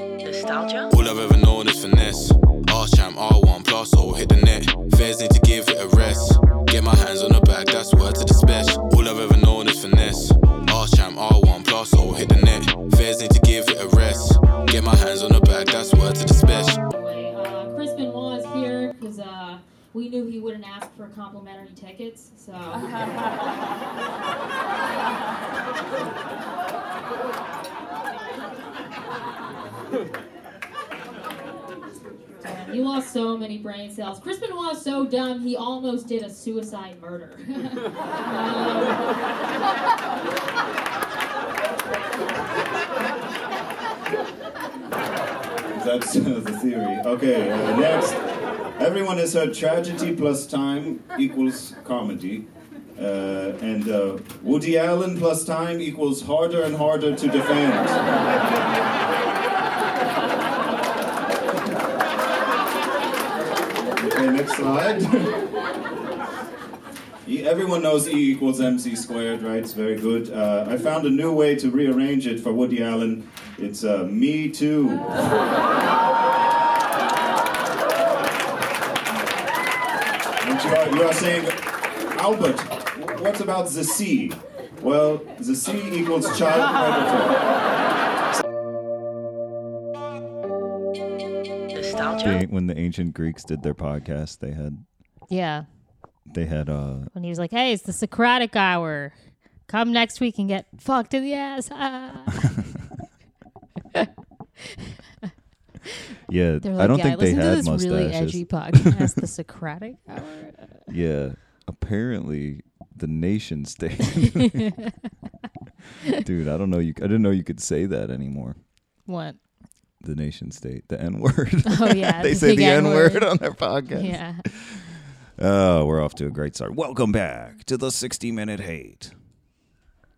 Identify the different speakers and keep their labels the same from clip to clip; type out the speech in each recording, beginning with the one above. Speaker 1: nostalgia.
Speaker 2: All I've ever known is finesse. R champ, R1 plus, or hit the net. Fairs need to give it a rest. Get my hands on the bag, that's word to the special. All I've ever known is finesse. R champ, R1 plus, or hit the net. Fairs need to give it a rest. Get my hands on the bag, that's word to the special.
Speaker 3: Anyway, uh, Crispin was here because uh, we knew he wouldn't ask for complimentary tickets, so. You lost so many brain cells. Crispin was so dumb, he almost did a suicide murder.
Speaker 4: That's the theory. Okay, uh, next. Everyone has heard tragedy plus time equals comedy. Uh, and uh, Woody Allen plus time equals harder and harder to defend. Okay, next slide. E- Everyone knows E equals MC squared, right? It's very good. Uh, I found a new way to rearrange it for Woody Allen. It's uh, me too. And you are, you are saying, Albert, wh- what about the sea? Well, the sea equals child predator.
Speaker 1: Nostalgia.
Speaker 5: Oh.
Speaker 6: They, when the ancient Greeks did their podcast, they had
Speaker 5: Yeah.
Speaker 6: they had uh
Speaker 5: When he was like, hey, it's the Socratic hour. Come next week and get fucked in the ass. Ah.
Speaker 6: yeah.
Speaker 5: They were
Speaker 6: I
Speaker 5: like,
Speaker 6: don't
Speaker 5: yeah,
Speaker 6: think
Speaker 5: I
Speaker 6: they
Speaker 5: listened
Speaker 6: had
Speaker 5: to this
Speaker 6: mustaches.
Speaker 5: really edgy podcast, the Socratic hour.
Speaker 6: Yeah. Apparently, the nation state. Dude, I don't know. You, I didn't know you could say that anymore.
Speaker 5: What?
Speaker 6: The nation state, the N word.
Speaker 5: Oh yeah,
Speaker 6: they
Speaker 5: the
Speaker 6: say
Speaker 5: big
Speaker 6: the oh, N
Speaker 5: N-word.
Speaker 6: word on their podcast.
Speaker 5: Yeah.
Speaker 6: Oh, we're off to a great start. Welcome back to the 60 Minute Hate,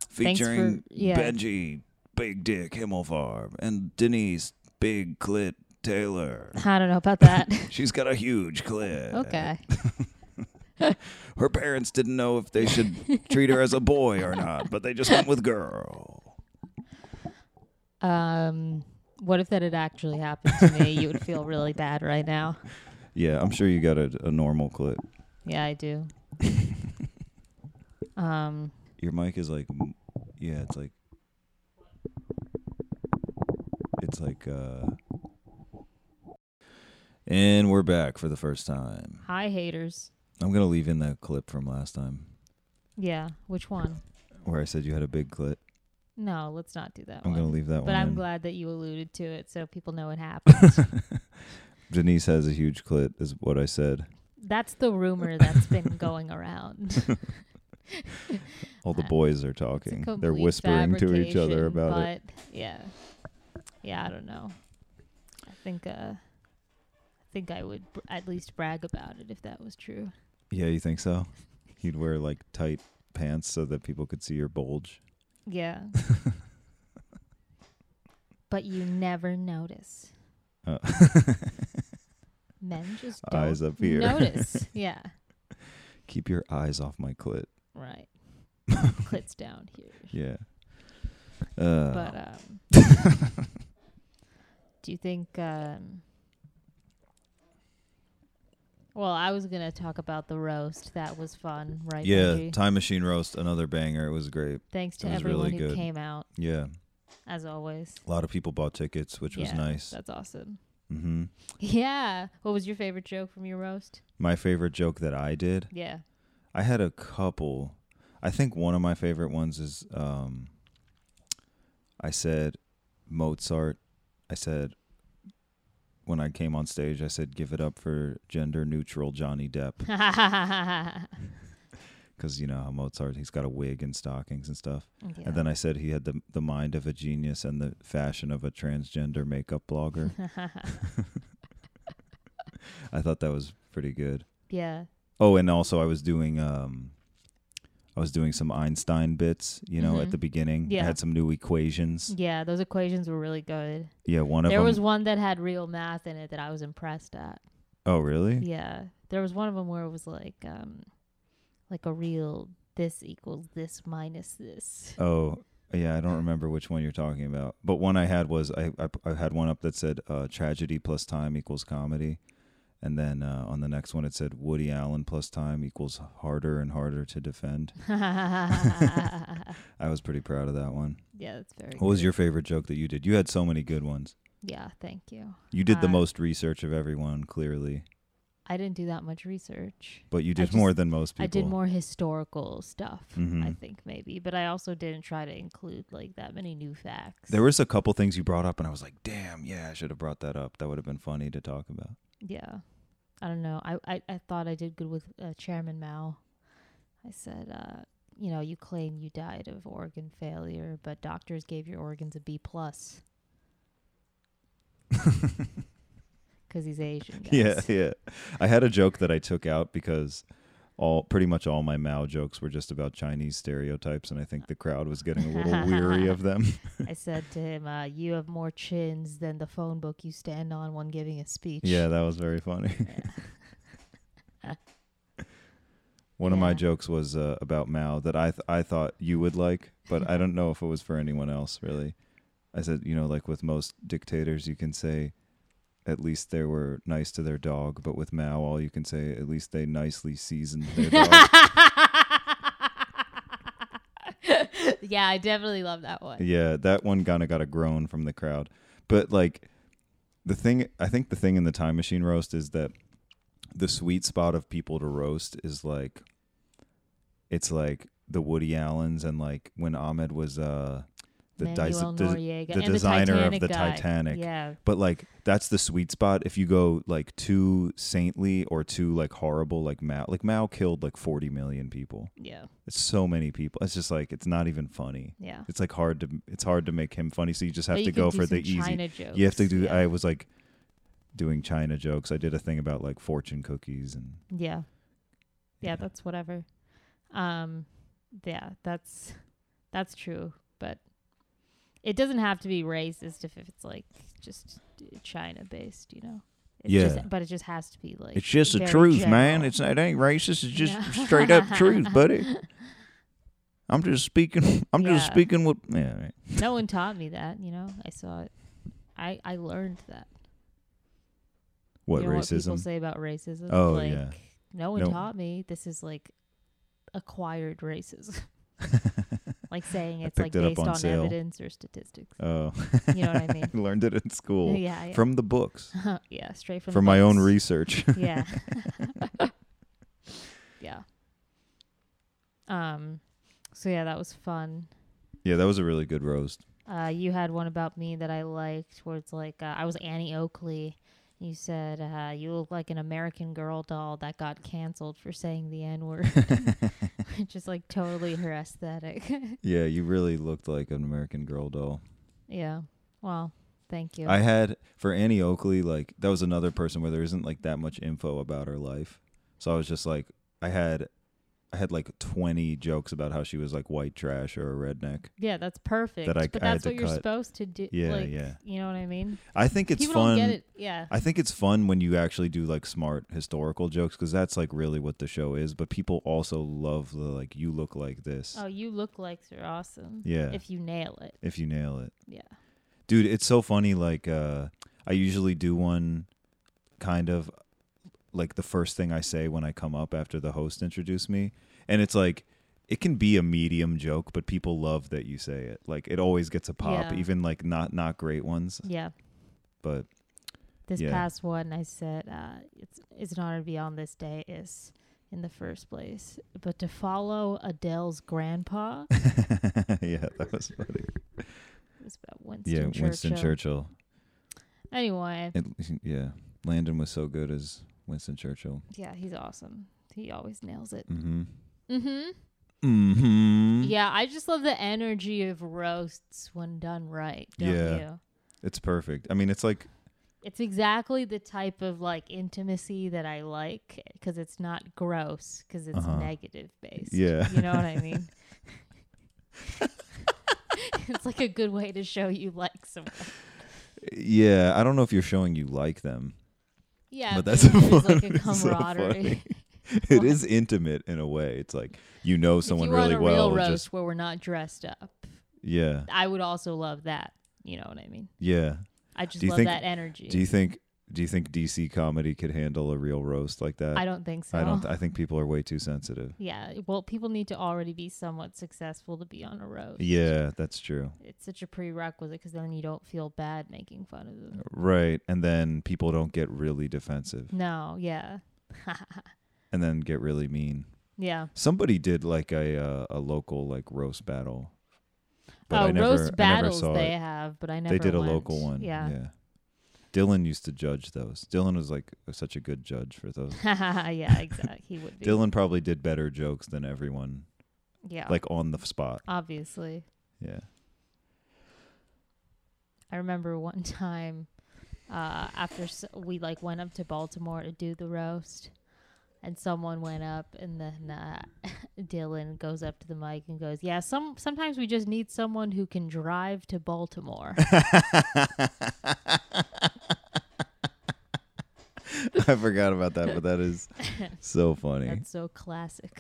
Speaker 5: Thanks for-
Speaker 6: featuring
Speaker 5: yeah.
Speaker 6: Benji, Big Dick Himmelfarb, and Denise, Big Clit Taylor.
Speaker 5: I don't know about that.
Speaker 6: She's got a huge clit.
Speaker 5: okay.
Speaker 6: Her parents didn't know if they should treat her as a boy or not, but they just went with girl.
Speaker 5: Um, what if that had actually happened to me? You would feel really bad right now.
Speaker 6: Yeah, I'm sure you got a, a normal clit.
Speaker 5: Yeah, I do. um,
Speaker 6: Your mic is like, m- yeah, it's like, it's like, uh, and we're back for the first time.
Speaker 5: hi haters.
Speaker 6: I'm gonna leave in that clip from last time
Speaker 5: Yeah, which one?
Speaker 6: where I said you had a big clit.
Speaker 5: No, let's not do that
Speaker 6: I'm
Speaker 5: one.
Speaker 6: gonna leave that
Speaker 5: Oh, but
Speaker 6: one.
Speaker 5: I'm
Speaker 6: in.
Speaker 5: glad that you alluded to it so people know it happened.
Speaker 6: Denise has a huge clit, is what I said.
Speaker 5: that's the rumor that's been going around.
Speaker 6: All the boys are
Speaker 5: It's a
Speaker 6: talking. They're
Speaker 5: complete
Speaker 6: whispering to each other
Speaker 5: fabrication,
Speaker 6: about it.
Speaker 5: but, Yeah. Yeah, I don't know. I think uh I think I would br- at least brag about it if that was true.
Speaker 6: Yeah, you think so? You'd wear like tight pants so that people could see your bulge.
Speaker 5: Yeah. but you never notice.
Speaker 6: Uh,
Speaker 5: Men just don't
Speaker 6: Eyes up here.
Speaker 5: notice. yeah.
Speaker 6: Keep your eyes off my clit.
Speaker 5: Right. Clits down here.
Speaker 6: Yeah. Uh,
Speaker 5: But um do you think um well, I was gonna talk about the roast. That was fun, right?
Speaker 6: yeah,
Speaker 5: Benji?
Speaker 6: Time Machine Roast, another banger. It was great.
Speaker 5: Thanks to
Speaker 6: It was really
Speaker 5: everyone who
Speaker 6: good.
Speaker 5: came out,
Speaker 6: Yeah.
Speaker 5: as always.
Speaker 6: A lot of people bought tickets, which was
Speaker 5: Yeah,
Speaker 6: nice.
Speaker 5: That's awesome.
Speaker 6: hmm
Speaker 5: Yeah. What was your favorite joke from your roast?
Speaker 6: My favorite joke that I did,
Speaker 5: Yeah.
Speaker 6: I had a couple. I think one of my favorite ones is um, I said Mozart. I said when I came on stage, I said, give it up for gender neutral Johnny Depp.
Speaker 5: yeah.
Speaker 6: because you know how Mozart he's got a wig and stockings and stuff. And then I said he had the the mind of a genius and the fashion of a transgender makeup blogger. I thought that was pretty good.
Speaker 5: yeah.
Speaker 6: Oh, and also I was doing um I was doing some Einstein bits, you know, at the beginning. I
Speaker 5: Mm-hmm. Yeah.
Speaker 6: had some new equations.
Speaker 5: Yeah, those equations were really good.
Speaker 6: Yeah, one of
Speaker 5: There
Speaker 6: them.
Speaker 5: was one that had real math in it that I was impressed at.
Speaker 6: oh, really?
Speaker 5: Yeah. There was one of them where it was like um like a real this equals this minus this.
Speaker 6: Oh, Yeah, I don't remember which one you're talking about, but one I had was I I, I had one up that said uh, tragedy plus time equals comedy, and then uh, on the next one it said Woody Allen plus time equals harder and harder to defend.
Speaker 5: yeah,
Speaker 6: I was pretty proud of that one.
Speaker 5: that's very.
Speaker 6: What was
Speaker 5: good.
Speaker 6: your favorite joke that you did? You had so many good ones.
Speaker 5: Yeah, thank you.
Speaker 6: You did the
Speaker 5: Uh,
Speaker 6: most research of everyone, clearly,
Speaker 5: I didn't do that much research.
Speaker 6: but you
Speaker 5: I
Speaker 6: did
Speaker 5: just-
Speaker 6: more than most people.
Speaker 5: I did more historical stuff, I
Speaker 6: Mhm.
Speaker 5: think maybe, but I also didn't try to include like that many new facts.
Speaker 6: There was a couple things you brought up, and I was like, "Damn, yeah, I should have brought that up. That would have been funny to talk about."
Speaker 5: yeah, I don't know. I I, I thought I did good with uh, Chairman Mao. I said, uh, you know, you claim you died of organ failure, but doctors gave your organs a B plus because he's Asian. Guys.
Speaker 6: Yeah, yeah. I had a joke that I took out because all pretty much all my Mao jokes were just about Chinese stereotypes, and I think the crowd was getting a little weary of them.
Speaker 5: I said to him, uh, "You have more chins than the phone book you stand on when giving a speech."
Speaker 6: Yeah, that was very funny. One of my
Speaker 5: Yeah.
Speaker 6: jokes was uh, about Mao that I th- I thought you would like, but I don't know if it was for anyone else really. I said, you know, like with most dictators, you can say, at least they were nice to their dog, but with Mao, all you can say, at least they nicely seasoned their dog.
Speaker 5: yeah, I definitely love that one.
Speaker 6: yeah, that one kind of got a groan from the crowd. But like the thing, I think the thing in the time machine roast is that the sweet spot of people to roast is like it's like the Woody Allens and like when Ahmed was uh the dis-
Speaker 5: Manuel
Speaker 6: dis-
Speaker 5: Noriega
Speaker 6: the
Speaker 5: and
Speaker 6: designer of
Speaker 5: Titanic
Speaker 6: the
Speaker 5: guy.
Speaker 6: Titanic.
Speaker 5: Yeah,
Speaker 6: but like that's the sweet spot if you go like too saintly or too like horrible like Mao like Mao killed like 40 million people.
Speaker 5: yeah,
Speaker 6: It's so many people. It's just like it's not even funny
Speaker 5: yeah.
Speaker 6: it's like hard to it's hard to make him funny so you just have
Speaker 5: But you
Speaker 6: to
Speaker 5: can
Speaker 6: go
Speaker 5: do
Speaker 6: for
Speaker 5: some
Speaker 6: the easy
Speaker 5: China jokes.
Speaker 6: you have to do
Speaker 5: Yeah.
Speaker 6: i was like doing china jokes i did a thing about like fortune cookies and
Speaker 5: yeah, yeah.
Speaker 6: Yeah.
Speaker 5: That's whatever. Um, yeah, that's that's true, but it doesn't have to be racist if it's like just China based, you know. It's
Speaker 6: Yeah.
Speaker 5: just, but it just has to be like
Speaker 6: it's just the
Speaker 5: very
Speaker 6: truth man
Speaker 5: general.
Speaker 6: it's it ain't racist it's just
Speaker 5: Yeah.
Speaker 6: straight up truth buddy i'm just speaking i'm just
Speaker 5: Yeah.
Speaker 6: speaking what yeah right.
Speaker 5: no one taught me that, you know. I saw it. I I learned that.
Speaker 6: what
Speaker 5: you know What people
Speaker 6: racism
Speaker 5: say about racism.
Speaker 6: Oh,
Speaker 5: like,
Speaker 6: yeah.
Speaker 5: No one
Speaker 6: No.
Speaker 5: taught me. This is like acquired racism. like saying
Speaker 6: I
Speaker 5: it's like
Speaker 6: picked it up
Speaker 5: based
Speaker 6: on
Speaker 5: on,
Speaker 6: sale.
Speaker 5: evidence or statistics.
Speaker 6: oh
Speaker 5: You know what I mean?
Speaker 6: i learned it in school
Speaker 5: Yeah, yeah.
Speaker 6: from the books
Speaker 5: yeah, straight from
Speaker 6: from,
Speaker 5: the
Speaker 6: my own
Speaker 5: books.
Speaker 6: research
Speaker 5: Yeah. yeah. Um. So yeah, that was fun.
Speaker 6: yeah that was a really good roast
Speaker 5: Uh, you had one about me that I liked, where it's like uh, I was Annie Oakley. You said uh, you look like an American Girl doll that got canceled for saying the N word, which is like totally her aesthetic.
Speaker 6: yeah you really looked like an american girl doll
Speaker 5: yeah. Well, thank you.
Speaker 6: I had for Annie Oakley, like that was another person where there isn't like that much info about her life. So I was just like I had I had like twenty jokes about how she was like white trash or a redneck.
Speaker 5: yeah, that's perfect.
Speaker 6: I-
Speaker 5: but
Speaker 6: I had
Speaker 5: that's
Speaker 6: to
Speaker 5: what you're
Speaker 6: cut.
Speaker 5: supposed to do.
Speaker 6: Yeah,
Speaker 5: like,
Speaker 6: yeah.
Speaker 5: You know what I mean?
Speaker 6: I think it's
Speaker 5: People
Speaker 6: fun.
Speaker 5: don't get it. Yeah.
Speaker 6: I think it's fun when you actually do like smart historical jokes because that's like really what the show is. But people also love the like you look like this
Speaker 5: Oh, you look like you're awesome.
Speaker 6: Yeah.
Speaker 5: If you nail it.
Speaker 6: if you nail it.
Speaker 5: Yeah.
Speaker 6: dude it's so funny like uh i usually do one kind of like the first thing i say when i come up after the host introduced me and it's like it can be a medium joke but people love that you say it like it always gets a pop
Speaker 5: Yeah.
Speaker 6: even like not not great ones
Speaker 5: Yeah.
Speaker 6: but
Speaker 5: This
Speaker 6: Yeah.
Speaker 5: past one, I said, uh, it's, it's an honor to be on this day, is in the first place. But to follow Adele's grandpa
Speaker 6: yeah that was funny
Speaker 5: it was about Winston
Speaker 6: yeah
Speaker 5: Churchill.
Speaker 6: winston churchill
Speaker 5: Anyway,
Speaker 6: it, yeah landon was so good as winston churchill
Speaker 5: yeah, he's awesome. He always nails it.
Speaker 6: mm-hmm
Speaker 5: Mm-hmm.
Speaker 6: mm-hmm
Speaker 5: Yeah, I just love the energy of roasts when done right. Don't
Speaker 6: Yeah.
Speaker 5: you?
Speaker 6: it's perfect i mean it's like
Speaker 5: It's exactly the type of like intimacy that I like because it's not gross because it's
Speaker 6: Uh-huh.
Speaker 5: negative based.
Speaker 6: Yeah.
Speaker 5: you know what I mean. it's like a good way to show you like someone.
Speaker 6: yeah i don't know if you're showing you like them
Speaker 5: Yeah, maybe
Speaker 6: But that's
Speaker 5: there's like
Speaker 6: funny.
Speaker 5: a
Speaker 6: It's so
Speaker 5: camaraderie.
Speaker 6: it is intimate in a way. It's like you know someone
Speaker 5: if you were
Speaker 6: really
Speaker 5: on a
Speaker 6: well.
Speaker 5: real roast
Speaker 6: just
Speaker 5: where we're not dressed up,
Speaker 6: Yeah.
Speaker 5: I would also love that. You know what I mean?
Speaker 6: Yeah.
Speaker 5: I just
Speaker 6: Do you
Speaker 5: love
Speaker 6: think-
Speaker 5: that energy.
Speaker 6: Do you think do you think DC comedy could handle a real roast like that?
Speaker 5: I don't think so.
Speaker 6: I don't I think people are way too sensitive.
Speaker 5: yeah. Well, people need to already be somewhat successful to be on a road.
Speaker 6: Yeah, that's true.
Speaker 5: It's such a prerequisite because then you don't feel bad making fun of them.
Speaker 6: Right. And then people don't get really defensive
Speaker 5: No, yeah.
Speaker 6: and then get really mean.
Speaker 5: yeah.
Speaker 6: Somebody did like a uh, a local like roast battle.
Speaker 5: oh, roast battles
Speaker 6: I never saw
Speaker 5: they
Speaker 6: it.
Speaker 5: have, but I never
Speaker 6: They did a
Speaker 5: went.
Speaker 6: local one.
Speaker 5: Yeah.
Speaker 6: Yeah. Dylan used to judge those. Dylan was like such a good judge for those.
Speaker 5: yeah, exactly. He would be.
Speaker 6: Dylan probably did better jokes than everyone,
Speaker 5: yeah.
Speaker 6: like on the spot.
Speaker 5: obviously.
Speaker 6: Yeah.
Speaker 5: I remember one time uh, after s we like went up to Baltimore to do the roast, and someone went up, and then uh, Dylan goes up to the mic and goes, "Yeah, some sometimes we just need someone who can drive to Baltimore."
Speaker 6: I forgot about that, but that is so funny.
Speaker 5: That's so classic.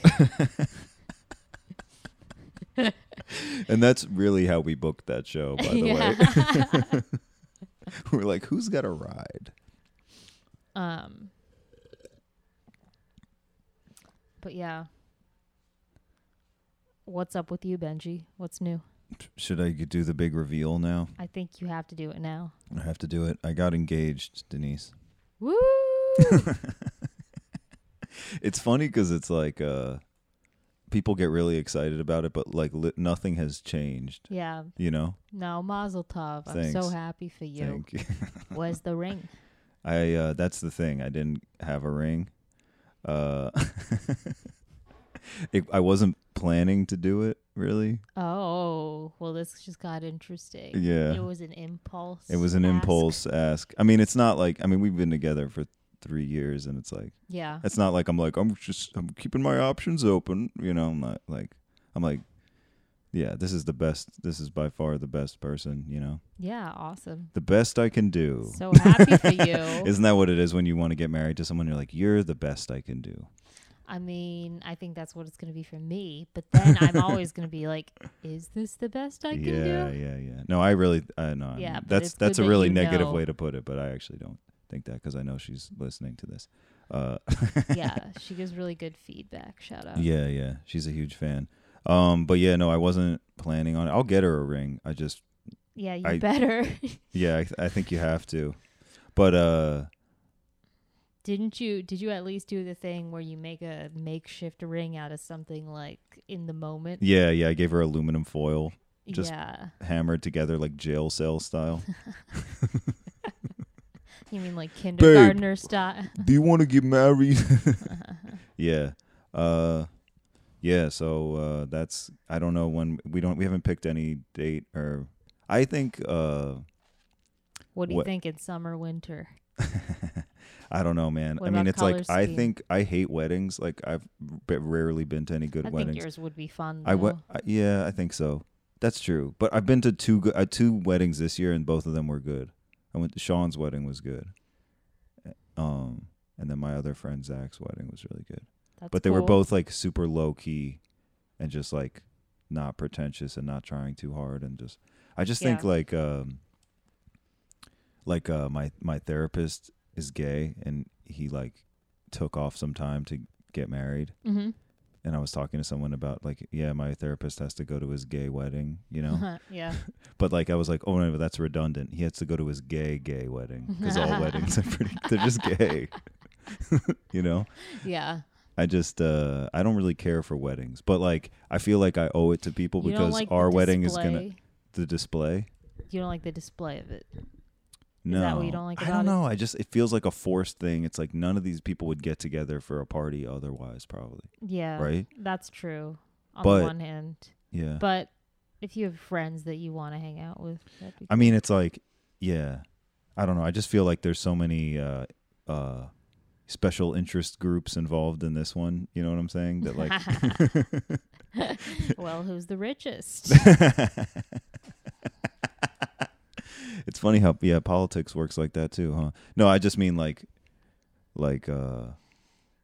Speaker 6: and that's really how we booked that show, by the way. We're like, who's got a ride?
Speaker 5: um, but yeah. What's up with you, Benji? What's new?
Speaker 6: Should I do the big reveal now?
Speaker 5: I think you have to do it now.
Speaker 6: I have to do it. I got engaged, Denise.
Speaker 5: Woo!
Speaker 6: It's funny because it's like uh, people get really excited about it, but like li- nothing has changed.
Speaker 5: yeah.
Speaker 6: You know?
Speaker 5: No, Mazel Tov. I'm so
Speaker 6: Thanks.
Speaker 5: happy for you.
Speaker 6: Thank you.
Speaker 5: Where's the ring?
Speaker 6: I uh, that's the thing. I didn't have a ring. Uh, it, I wasn't planning to do it really.
Speaker 5: Oh, well, this just got interesting.
Speaker 6: Yeah.
Speaker 5: It was an impulse.
Speaker 6: It was an
Speaker 5: ask.
Speaker 6: impulse ask. I mean, it's not like I mean we've been together for three years, and it's like
Speaker 5: Yeah.
Speaker 6: it's not like I'm like I'm just I'm keeping my options open. You know, I'm not like I'm like yeah, this is the best. This is by far the best person. You know,
Speaker 5: Yeah. Awesome.
Speaker 6: the best I can do.
Speaker 5: So happy for you.
Speaker 6: Isn't that what it is when you want to get married to someone? You're like, you're the best I can do.
Speaker 5: I mean, I think that's what it's going to be for me. But then I'm always going to be like, is this the best I can
Speaker 6: yeah,
Speaker 5: do?
Speaker 6: yeah, yeah. No, I really, uh, no, I
Speaker 5: Yeah,
Speaker 6: mean,
Speaker 5: but
Speaker 6: that's
Speaker 5: it's good
Speaker 6: that's a
Speaker 5: that
Speaker 6: really
Speaker 5: you
Speaker 6: negative
Speaker 5: know.
Speaker 6: way to put it, but I actually don't think that because I know she's listening to this. Uh,
Speaker 5: yeah. She gives really good feedback. Shout out.
Speaker 6: yeah, yeah, she's a huge fan. Um, but yeah, no, I wasn't planning on. it. I'll get her a ring. I just,
Speaker 5: Yeah, you
Speaker 6: I-
Speaker 5: better.
Speaker 6: yeah, I, th- I think you have to. But uh,
Speaker 5: Didn't you? Did you at least do the thing where you make a makeshift ring out of something like in the moment?
Speaker 6: yeah, yeah, I gave her aluminum foil Just-
Speaker 5: yeah.
Speaker 6: hammered together like jail cell style.
Speaker 5: You mean like kindergartner style?
Speaker 6: Do you want to get married? yeah. Uh yeah, so uh that's I don't know when we don't we haven't picked any date or I think uh
Speaker 5: What do you
Speaker 6: What-
Speaker 5: think in summer, winter?
Speaker 6: I don't know, man.
Speaker 5: What
Speaker 6: I mean,
Speaker 5: about
Speaker 6: it's like
Speaker 5: color
Speaker 6: I
Speaker 5: scheme?
Speaker 6: think I hate weddings. Like I've b- rarely been to any good
Speaker 5: I
Speaker 6: weddings.
Speaker 5: think yours would be fun. Though.
Speaker 6: I went. Yeah, I think so. That's true. But I've been to two go- uh, two weddings this year, and both of them were good. I went to Sean's wedding was good, um, and then my other friend Zach's wedding was really good.
Speaker 5: That's
Speaker 6: but they were
Speaker 5: cool.
Speaker 6: both like super low key, and just like not pretentious and not trying too hard, and just I just think
Speaker 5: Yeah.
Speaker 6: like um, like uh, my my therapist is gay, and he like took off some time to get married
Speaker 5: Mhm.
Speaker 6: and I was talking to someone about like, yeah, my therapist has to go to his gay wedding, you know.
Speaker 5: yeah.
Speaker 6: but like, I was like, oh no, that's redundant. He has to go to his gay gay wedding because all weddings are pretty, they're just gay, you know.
Speaker 5: Yeah.
Speaker 6: I just uh I don't really care for weddings, but like I feel like I owe it to people
Speaker 5: you don't
Speaker 6: because
Speaker 5: like the
Speaker 6: our wedding is gonna
Speaker 5: display?
Speaker 6: the display.
Speaker 5: You don't like the display of it.
Speaker 6: No,
Speaker 5: that what you don't like
Speaker 6: I
Speaker 5: about
Speaker 6: don't
Speaker 5: it?
Speaker 6: know. I just it feels like a forced thing. It's like none of these people would get together for a party otherwise, probably.
Speaker 5: Yeah.
Speaker 6: Right?
Speaker 5: That's true. On
Speaker 6: But-
Speaker 5: the one hand,
Speaker 6: Yeah.
Speaker 5: but if you have friends that you want to hang out with, that'd be
Speaker 6: I mean, it's like, yeah, I don't know. I just feel like there's so many uh, uh, special interest groups involved in this one. You know what I'm saying? That like,
Speaker 5: well, who's the richest?
Speaker 6: it's funny how yeah, politics works like that too, huh? No, I just mean like, like uh,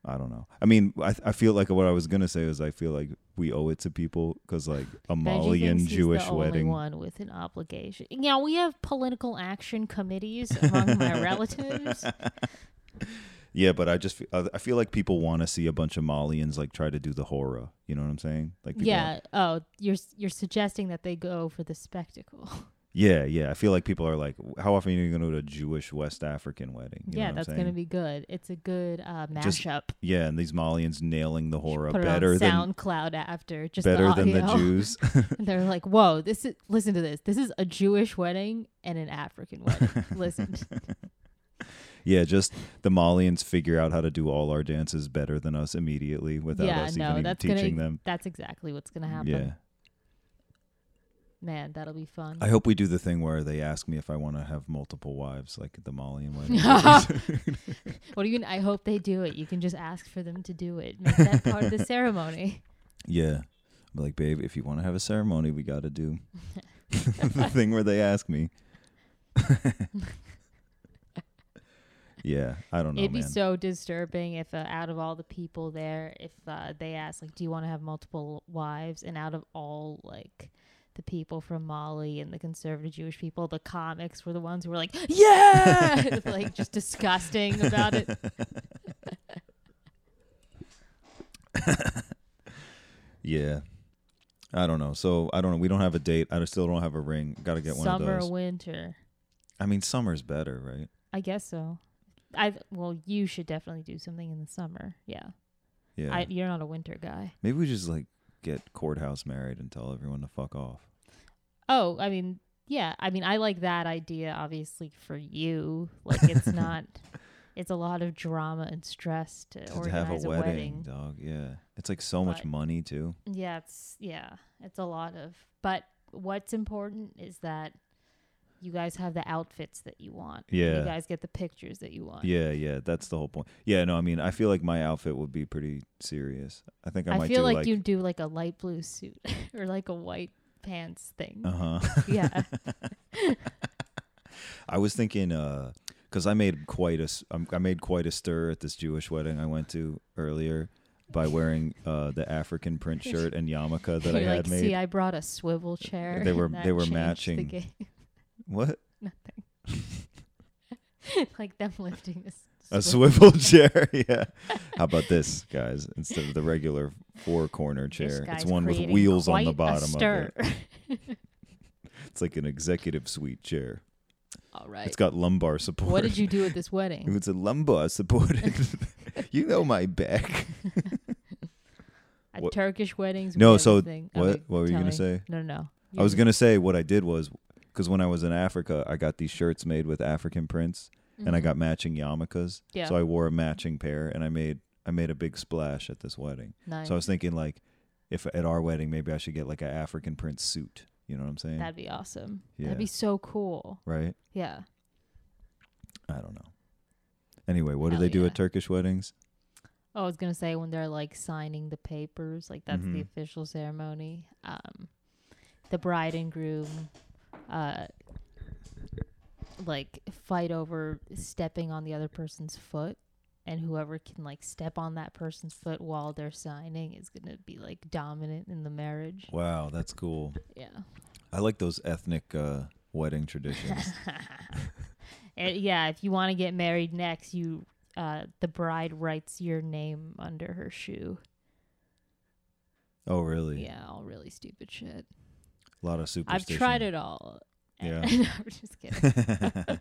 Speaker 6: I don't know. I mean, I, I feel like what I was gonna say was I feel like we owe it to people because like a
Speaker 5: Benji thinks
Speaker 6: Malian
Speaker 5: he's
Speaker 6: Jewish
Speaker 5: the
Speaker 6: wedding.
Speaker 5: Only one with an obligation. Now we have political action committees among my relatives.
Speaker 6: Yeah, but I just f- I feel like people want to see a bunch of Malians like try to do the horror. You know what I'm saying? Like people
Speaker 5: yeah. Oh, you're you're suggesting that they go for the spectacle.
Speaker 6: Yeah, yeah. I feel like people are like, how often are you going to go to a Jewish West African wedding? You know what
Speaker 5: yeah,
Speaker 6: I'm
Speaker 5: that's
Speaker 6: saying?
Speaker 5: gonna be good. It's a good uh,
Speaker 6: Just
Speaker 5: mashup.
Speaker 6: Yeah, and these Malians nailing the horror
Speaker 5: Put
Speaker 6: better
Speaker 5: it
Speaker 6: than
Speaker 5: on SoundCloud after. Just
Speaker 6: better
Speaker 5: the
Speaker 6: than the
Speaker 5: audio.
Speaker 6: Jews.
Speaker 5: And they're like, "Whoa, this is listen to this. This is a Jewish wedding and an African wedding. listen,
Speaker 6: yeah, just the Malians figure out how to do all our dances better than us immediately without
Speaker 5: yeah,
Speaker 6: us
Speaker 5: no,
Speaker 6: even, even
Speaker 5: that's
Speaker 6: teaching
Speaker 5: gonna,
Speaker 6: them.
Speaker 5: That's exactly what's gonna happen.
Speaker 6: Yeah.
Speaker 5: Man, that'll be fun.
Speaker 6: I hope we do the thing where they ask me if I want to have multiple wives, like at the Malian wedding.
Speaker 5: what do you mean? I hope they do it. You can just ask for them to do it. Make that part of the ceremony.
Speaker 6: yeah. I'm like, babe, if you want to have a ceremony, we got to do the thing where they ask me. yeah, I don't know,
Speaker 5: It'd be
Speaker 6: man.
Speaker 5: so disturbing if, uh, out of all the people there, if uh, they asked, like, do you want to have multiple wives? And out of all, like, the people from Mali and the conservative Jewish people, the comics were the ones who were like, yeah, like just disgusting about it.
Speaker 6: yeah. I don't know. So I don't know. We don't have a date. I still don't have a ring. Got to get one of
Speaker 5: Summer,
Speaker 6: those.
Speaker 5: winter.
Speaker 6: I mean, summer's better, right?
Speaker 5: I guess so. I well, you should definitely do something in the summer. Yeah,
Speaker 6: Yeah.
Speaker 5: I, you're not a winter guy.
Speaker 6: Maybe we just like get courthouse married and tell everyone to fuck off.
Speaker 5: Oh, I mean, yeah. I mean, I like that idea, obviously, for you. Like, it's not, it's a lot of drama and stress to,
Speaker 6: To
Speaker 5: organize
Speaker 6: have a
Speaker 5: wedding.
Speaker 6: wedding, dog. Yeah. It's like so much
Speaker 5: But-
Speaker 6: money, too.
Speaker 5: Yeah, it's, yeah, it's a lot of, but what's important is that you guys have the outfits that you want. and
Speaker 6: Yeah.
Speaker 5: You guys get the pictures that you want.
Speaker 6: Yeah, yeah, that's the whole point. Yeah, no, I mean, I feel like my outfit would be pretty serious. I think I,
Speaker 5: I
Speaker 6: might
Speaker 5: feel
Speaker 6: do
Speaker 5: like,
Speaker 6: like,
Speaker 5: you do like a light blue suit or like a white pants thing.
Speaker 6: Uh huh.
Speaker 5: Yeah.
Speaker 6: I was thinking, uh, because I made quite a, s- um, I made quite a stir at this Jewish wedding I went to earlier by wearing uh the African print shirt and yarmulke that I
Speaker 5: You're
Speaker 6: had
Speaker 5: like,
Speaker 6: made.
Speaker 5: see, uh, I brought a swivel chair.
Speaker 6: They were-
Speaker 5: and that
Speaker 6: they were
Speaker 5: changed the
Speaker 6: matching.
Speaker 5: game."
Speaker 6: what?
Speaker 5: Nothing. like them lifting this.
Speaker 6: A swivel chair, yeah. How about this, guys? Instead of the regular four-corner chair, it's one with wheels on the bottom of it. It's like an executive suite chair.
Speaker 5: All right.
Speaker 6: It's got lumbar support.
Speaker 5: what did you do at this
Speaker 6: It
Speaker 5: wedding?
Speaker 6: was a lumbar supported. you know my back.
Speaker 5: At
Speaker 6: what-
Speaker 5: Turkish weddings.
Speaker 6: No,
Speaker 5: we
Speaker 6: so
Speaker 5: everything- I
Speaker 6: what-
Speaker 5: mean,
Speaker 6: what were you
Speaker 5: tell
Speaker 6: gonna
Speaker 5: me.
Speaker 6: say?
Speaker 5: No, no. no.
Speaker 6: I
Speaker 5: You
Speaker 6: was
Speaker 5: go.
Speaker 6: gonna say what I did was because when I was in Africa, I got these shirts made with African prints, and I got matching yarmulkes.
Speaker 5: Mm-hmm. Yeah.
Speaker 6: So I wore a matching pair, and I made I made a big splash at this wedding.
Speaker 5: Nice.
Speaker 6: So I was thinking like, if at our wedding, maybe I should get like an African print suit. You know what I'm saying?
Speaker 5: That'd be awesome.
Speaker 6: Yeah.
Speaker 5: That'd be so cool.
Speaker 6: right?
Speaker 5: Yeah.
Speaker 6: I don't know. Anyway, what
Speaker 5: Hell
Speaker 6: do they do
Speaker 5: yeah.
Speaker 6: at Turkish weddings?
Speaker 5: Oh, I was gonna say when they're like signing the papers, like that's the
Speaker 6: Mhm.
Speaker 5: official ceremony. Um, the bride and groom, uh, like fight over stepping on the other person's foot, and whoever can like step on that person's foot while they're signing is gonna be like dominant in the marriage.
Speaker 6: Wow, that's cool.
Speaker 5: Yeah,
Speaker 6: I like those ethnic uh, wedding traditions.
Speaker 5: And, yeah. If you want to get married next, you uh, the bride writes your name under her shoe.
Speaker 6: oh, really?
Speaker 5: Yeah, all really stupid shit.
Speaker 6: A lot of
Speaker 5: I've
Speaker 6: superstition.
Speaker 5: tried it all.
Speaker 6: Yeah.
Speaker 5: no, I'm just kidding.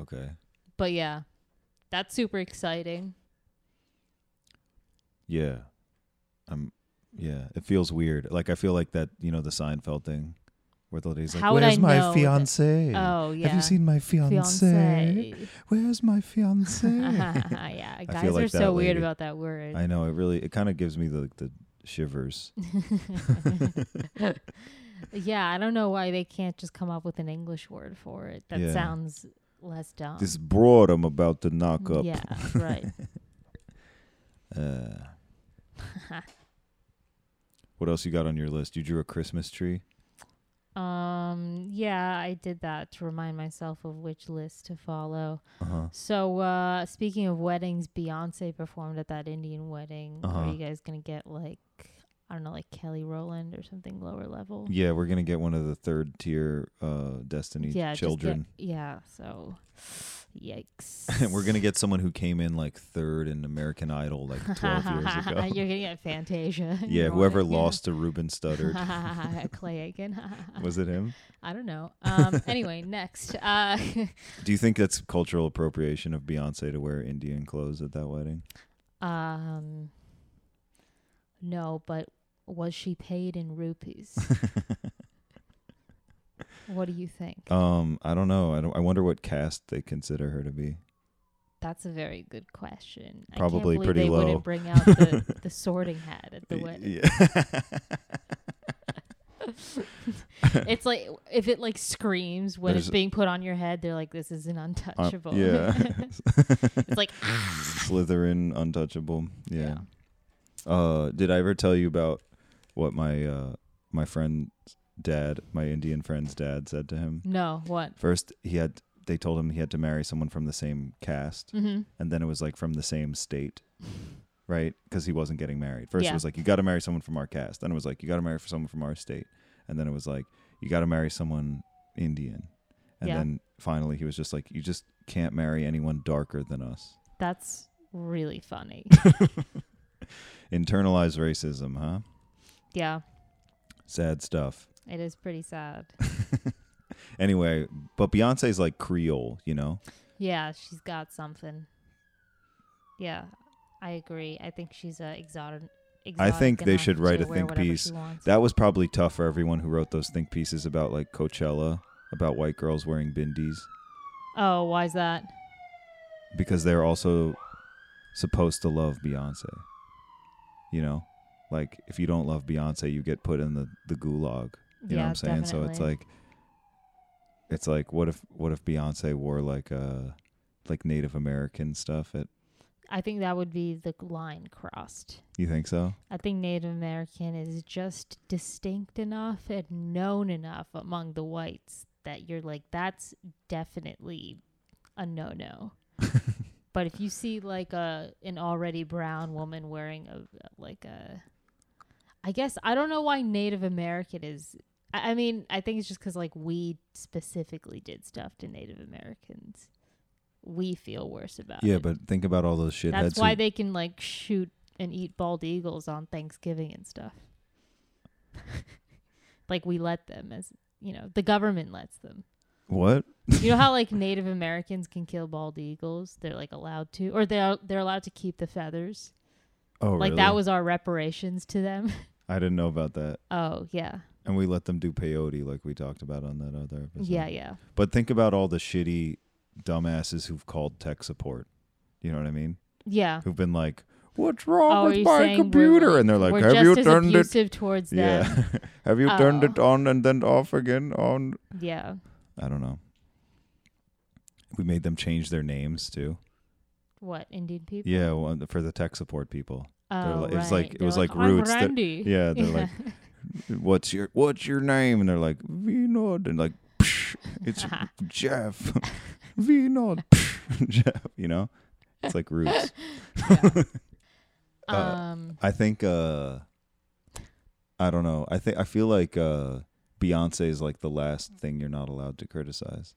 Speaker 6: okay.
Speaker 5: but yeah, that's super exciting.
Speaker 6: Yeah. I'm yeah, it feels weird. Like I feel like that, you know, the Seinfeld thing where the lady's like,
Speaker 5: How would I
Speaker 6: Where's
Speaker 5: know
Speaker 6: my
Speaker 5: that-
Speaker 6: fiance?
Speaker 5: Oh yeah.
Speaker 6: Have you seen my fiance?
Speaker 5: fiance?
Speaker 6: Where's my fiance?
Speaker 5: yeah, guys
Speaker 6: feel like
Speaker 5: are
Speaker 6: that
Speaker 5: so weird
Speaker 6: lady.
Speaker 5: about that word.
Speaker 6: I know, it really it kind of gives me the the shivers.
Speaker 5: Uh-huh. yeah, I don't know why they can't just come up with an English word for it. That
Speaker 6: Yeah.
Speaker 5: sounds less dumb.
Speaker 6: this broad I'm about to knock up.
Speaker 5: yeah, right.
Speaker 6: Uh, what else you got on your list? You drew a Christmas tree?
Speaker 5: Um, yeah, I did that to remind myself of which list to follow.
Speaker 6: Uh-huh.
Speaker 5: So, uh, speaking of weddings, Beyonce performed at that Indian wedding.
Speaker 6: Uh-huh.
Speaker 5: Are you guys gonna get like, I don't know, like Kelly Rowland or something lower level?
Speaker 6: Yeah, we're gonna get one of the third tier uh, Destiny
Speaker 5: Yeah, just get-
Speaker 6: children.
Speaker 5: yeah. So, yikes.
Speaker 6: we're gonna get someone who came in like third in American Idol like twelve years ago.
Speaker 5: You're gonna get Fantasia. in
Speaker 6: yeah,
Speaker 5: your
Speaker 6: whoever
Speaker 5: wedding, yeah.
Speaker 6: lost to Ruben Studdard
Speaker 5: Clay Aiken.
Speaker 6: was it him?
Speaker 5: I don't know. Um, anyway, next. Uh,
Speaker 6: Do you think that's cultural appropriation of Beyonce to wear Indian clothes at that wedding?
Speaker 5: um, no, but was she paid in rupees? what do you think?
Speaker 6: Um, I don't know. I don't. I wonder what caste they consider her to be.
Speaker 5: That's a very good question.
Speaker 6: Probably
Speaker 5: I can't believe
Speaker 6: pretty
Speaker 5: they
Speaker 6: low.
Speaker 5: wouldn't bring out the, the sorting hat at the
Speaker 6: Y-
Speaker 5: wedding.
Speaker 6: Yeah.
Speaker 5: It's like if it like screams when
Speaker 6: There's-
Speaker 5: it's being put on your head, they're like, "This is an untouchable."
Speaker 6: Uh, yeah.
Speaker 5: it's like
Speaker 6: Slytherin, untouchable. Yeah.
Speaker 5: Yeah.
Speaker 6: Uh, did I ever tell you about what my uh my friend's dad, my Indian friend's dad, said to him?
Speaker 5: no, what?
Speaker 6: First, he had they told him he had to marry someone from the same caste,
Speaker 5: Mm-hmm.
Speaker 6: and then it was like from the same state, right? Because he wasn't getting married. First, it
Speaker 5: Yeah.
Speaker 6: was like you got to marry someone from our caste. Then it was like you got to marry for someone from our state, and then it was like you got to marry someone Indian, and
Speaker 5: Yeah.
Speaker 6: then finally he was just like you just can't marry anyone darker than us.
Speaker 5: That's really funny.
Speaker 6: Internalized racism, huh?
Speaker 5: yeah,
Speaker 6: Sad stuff.
Speaker 5: it is pretty sad.
Speaker 6: Anyway, but Beyonce's like Creole, you know?
Speaker 5: Yeah, she's got something. Yeah, I agree. I think she's a exotic.
Speaker 6: I think
Speaker 5: exotic
Speaker 6: they
Speaker 5: enough
Speaker 6: should write
Speaker 5: to
Speaker 6: a
Speaker 5: wear
Speaker 6: think
Speaker 5: whatever she
Speaker 6: piece.
Speaker 5: wants.
Speaker 6: That was probably tough for everyone who wrote those think pieces about like Coachella, about white girls wearing bindis,
Speaker 5: oh, why's that?
Speaker 6: because they're also supposed to love Beyonce. You know? Like if you don't love Beyonce, you get put in the, the gulag.
Speaker 5: yeah,
Speaker 6: You know what I'm saying? So it's
Speaker 5: definitely.
Speaker 6: like it's like what if what if Beyonce wore like uh like Native American stuff at
Speaker 5: I think that would be the line crossed.
Speaker 6: you think so?
Speaker 5: I think Native American is just distinct enough and known enough among the whites that you're like, that's definitely a no no. but if you see like a an already brown woman wearing a like a, I guess I don't know why Native American is. I I mean, I think it's just because like we specifically did stuff to Native Americans. We feel worse about
Speaker 6: Yeah,
Speaker 5: it.
Speaker 6: but think about all those shitheads.
Speaker 5: Uh, That's why
Speaker 6: who-
Speaker 5: they can like shoot and eat bald eagles on Thanksgiving and stuff. like we let them as you know, the government lets them.
Speaker 6: what?
Speaker 5: You know how like Native Americans can kill bald eagles? They're like allowed to or they are they're allowed to keep the feathers.
Speaker 6: Oh,
Speaker 5: like
Speaker 6: really?
Speaker 5: that was our reparations to them.
Speaker 6: I didn't know about that.
Speaker 5: oh, yeah.
Speaker 6: And we let them do peyote like we talked about on that other episode.
Speaker 5: Yeah, yeah.
Speaker 6: But think about all the shitty dumbasses who've called tech support. You know what I mean?
Speaker 5: Yeah.
Speaker 6: Who've been like, "What's wrong
Speaker 5: oh, are
Speaker 6: with
Speaker 5: you
Speaker 6: my
Speaker 5: saying we're,
Speaker 6: computer?" and they're like,
Speaker 5: we're
Speaker 6: "Have
Speaker 5: just
Speaker 6: you
Speaker 5: as
Speaker 6: turned it?
Speaker 5: abusive towards them?
Speaker 6: Yeah. Have you turned
Speaker 5: Oh.
Speaker 6: it on and then off again? On
Speaker 5: Yeah.
Speaker 6: I don't know. We made them change their names too.
Speaker 5: What, Indian people?
Speaker 6: Yeah, well, for the tech support people. They're
Speaker 5: Oh,
Speaker 6: like-
Speaker 5: right.
Speaker 6: it was like- it
Speaker 5: They're
Speaker 6: was like
Speaker 5: "I'm
Speaker 6: roots that-
Speaker 5: Randy."
Speaker 6: Yeah, they're like, "What's your what's your name?" And they're like, "Vinod." And like, "Psh, "It's Jeff." Vinod. Psh, Jeff, you know? It's like roots. Uh,
Speaker 5: um
Speaker 6: I think uh I don't know. I think I feel like uh Beyonce is like the last thing you're not allowed to criticize.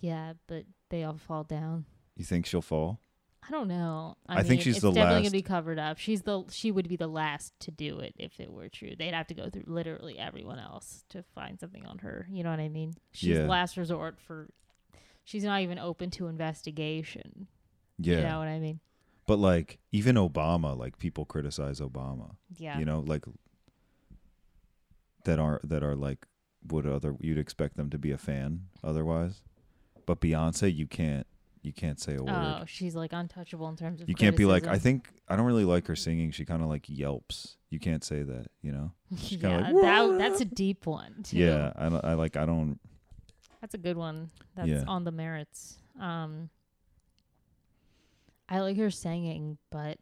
Speaker 5: yeah but they all fall down
Speaker 6: You think she'll fall?
Speaker 5: i don't know i,
Speaker 6: I think
Speaker 5: mean,
Speaker 6: she's
Speaker 5: it's
Speaker 6: the
Speaker 5: definitely
Speaker 6: last-
Speaker 5: gonna be covered up she's the she would be the last to do it if it were true they'd have to go through literally everyone else to find something on her you know what i mean she's
Speaker 6: Yeah.
Speaker 5: last resort for she's not even open to investigation
Speaker 6: Yeah.
Speaker 5: you know what i mean
Speaker 6: But like even Obama, like people criticize Obama.
Speaker 5: yeah
Speaker 6: You know, like that are that are like would other you'd expect them to be a fan otherwise. But Beyonce, you can't you can't say a word.
Speaker 5: oh she's like untouchable in terms of
Speaker 6: you can't be like I
Speaker 5: criticism.
Speaker 6: think I don't really like her singing. She kind of like yelps. You can't say that, you know. She's kinda
Speaker 5: yeah,
Speaker 6: like,
Speaker 5: that, that's a deep one too.
Speaker 6: Yeah, I, don't- I like I don't.
Speaker 5: That's a good one. That's
Speaker 6: Yeah.
Speaker 5: on the merits. Um I like her singing, but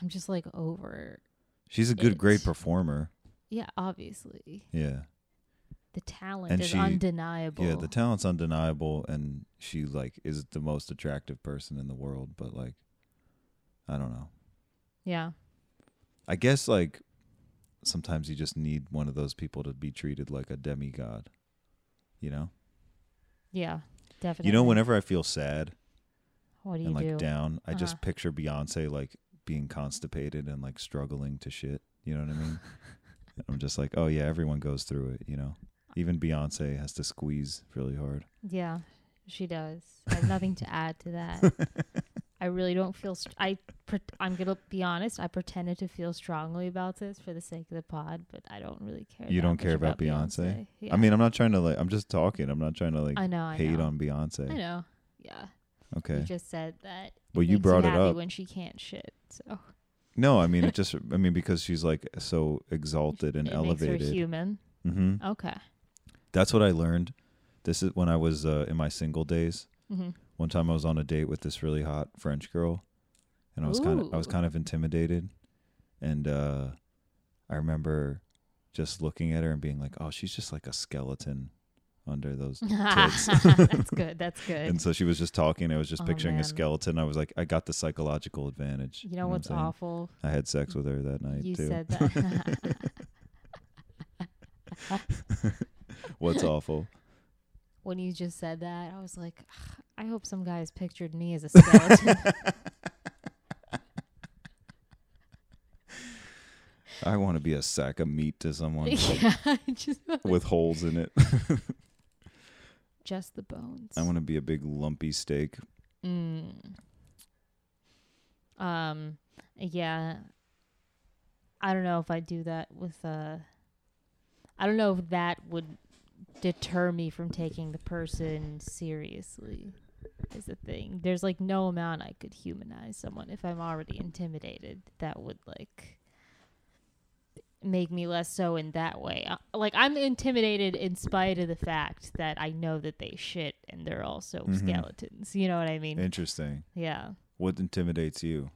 Speaker 5: I'm just like over.
Speaker 6: She's a good, great
Speaker 5: It-
Speaker 6: performer.
Speaker 5: Yeah, obviously.
Speaker 6: Yeah,
Speaker 5: the talent
Speaker 6: And
Speaker 5: is
Speaker 6: she-
Speaker 5: undeniable.
Speaker 6: Yeah, the talent's undeniable, and she like is the most attractive person in the world. But like, I don't know.
Speaker 5: yeah.
Speaker 6: I guess like sometimes you just need one of those people to be treated like a demigod. You know.
Speaker 5: Yeah. Definitely.
Speaker 6: You know, whenever I feel sad
Speaker 5: what do you
Speaker 6: and like
Speaker 5: do?
Speaker 6: down, I just
Speaker 5: Uh-huh.
Speaker 6: picture Beyonce like being constipated and like struggling to shit. You know what I mean? I'm just like, oh yeah, everyone goes through it. You know, even Beyonce has to squeeze really hard.
Speaker 5: Yeah, she does. I have nothing to add to that. I really don't feel. St- I pre- I'm gonna be honest. I pretended to feel strongly about this for the sake of the pod, but I don't really care.
Speaker 6: You
Speaker 5: that
Speaker 6: don't
Speaker 5: much
Speaker 6: care about Beyonce?
Speaker 5: Yeah.
Speaker 6: I mean, I'm not trying to like. I'm just talking. I'm not trying to like
Speaker 5: I know. I
Speaker 6: hate
Speaker 5: know.
Speaker 6: on Beyonce.
Speaker 5: I know. Yeah. You
Speaker 6: Okay.
Speaker 5: just said that. it
Speaker 6: Well, you
Speaker 5: makes
Speaker 6: brought it
Speaker 5: happy
Speaker 6: up.
Speaker 5: when she can't shit. So
Speaker 6: No, I mean it just. I mean because she's like so exalted and
Speaker 5: it makes her
Speaker 6: elevated.
Speaker 5: human.
Speaker 6: hmm
Speaker 5: Okay.
Speaker 6: That's what I learned. This is when I was uh, in my single days.
Speaker 5: Mhm.
Speaker 6: One time I was on a date with this really hot French girl, and I was kind of I was
Speaker 5: Ooh.
Speaker 6: kind of intimidated, and uh, I remember just looking at her and being like, "Oh, she's just like a skeleton under those tits."
Speaker 5: That's good. That's good.
Speaker 6: And so she was just talking. I was just
Speaker 5: Oh,
Speaker 6: picturing
Speaker 5: man.
Speaker 6: a skeleton. I was like, I got the psychological advantage.
Speaker 5: you know what's
Speaker 6: what I'm saying?
Speaker 5: awful?
Speaker 6: I had sex with her that night
Speaker 5: you
Speaker 6: too.
Speaker 5: said that.
Speaker 6: what's awful?
Speaker 5: when you just said that, I was like, "Ugh, I hope some guys pictured me as a skeleton.
Speaker 6: I want to be a sack of meat to someone
Speaker 5: yeah, I just
Speaker 6: with holes in it.
Speaker 5: just the bones.
Speaker 6: I want to be a big lumpy steak.
Speaker 5: Mm. Um, yeah. I don't know if I do that with uh I don't know if that would deter me from taking the person seriously. Is the thing. There's like no amount I could humanize someone if I'm already intimidated that would like make me less so in that way. Uh, Like I'm intimidated in spite of the fact that I know that they shit and they're also
Speaker 6: Mhm.
Speaker 5: skeletons. You know what I mean?
Speaker 6: Interesting.
Speaker 5: Yeah.
Speaker 6: What intimidates you?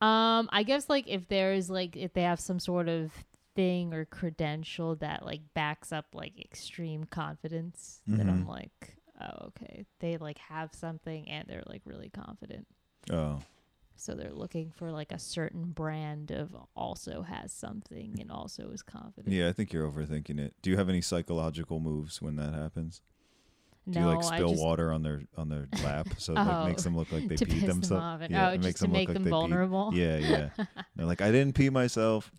Speaker 5: Um, I guess like if there's like if they have some sort of thing or credential that like backs up like extreme confidence, then I'm
Speaker 6: Mhm.
Speaker 5: like, oh okay, they like have something and they're like really confident,
Speaker 6: Oh,
Speaker 5: so they're looking for like a certain brand of also has something and also is confident.
Speaker 6: yeah. I think you're overthinking it. Do you have any psychological moves when that happens? Do you like
Speaker 5: I
Speaker 6: spill
Speaker 5: just-
Speaker 6: water on their on their lap so it like, makes
Speaker 5: Oh,
Speaker 6: them look like they
Speaker 5: to
Speaker 6: peed
Speaker 5: piss them
Speaker 6: themselves?
Speaker 5: off and-
Speaker 6: yeah,
Speaker 5: oh,
Speaker 6: it
Speaker 5: just
Speaker 6: makes
Speaker 5: to
Speaker 6: them
Speaker 5: make
Speaker 6: look
Speaker 5: them
Speaker 6: like they
Speaker 5: vulnerable?
Speaker 6: Peed. Yeah, yeah. They're like, I didn't pee myself.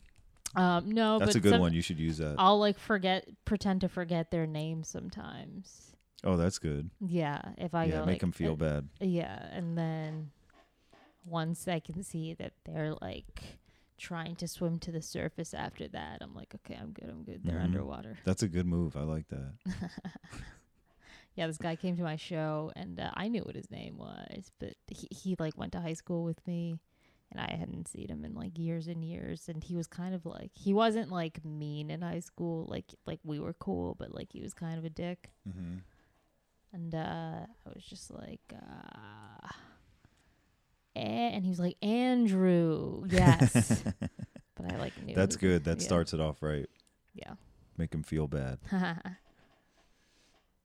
Speaker 5: Um, no,
Speaker 6: That's
Speaker 5: but
Speaker 6: a good
Speaker 5: some- Oh.
Speaker 6: one. You should use that.
Speaker 5: I'll like forget, pretend to forget their name sometimes.
Speaker 6: oh, that's good.
Speaker 5: Yeah, if I
Speaker 6: yeah,
Speaker 5: go,
Speaker 6: make
Speaker 5: like,
Speaker 6: them feel
Speaker 5: uh,
Speaker 6: bad.
Speaker 5: Yeah, and then once I can see that they're like trying to swim to the surface after that, I'm like, okay, I'm good, I'm good. They're
Speaker 6: Mhm.
Speaker 5: underwater.
Speaker 6: That's a good move. I like that.
Speaker 5: Yeah, this guy came to my show and uh, I knew what his name was, but he, he like went to high school with me and I hadn't seen him in like years and years and he was kind of like he wasn't like mean in high school, like like we were cool, but like he was kind of a dick.
Speaker 6: Mm-hmm.
Speaker 5: And uh, I was just like, uh, eh, and he was like, Andrew, yes. but I like knew.
Speaker 6: That's good. That
Speaker 5: yeah.
Speaker 6: starts it off right.
Speaker 5: Yeah.
Speaker 6: Make them feel bad,
Speaker 5: yeah,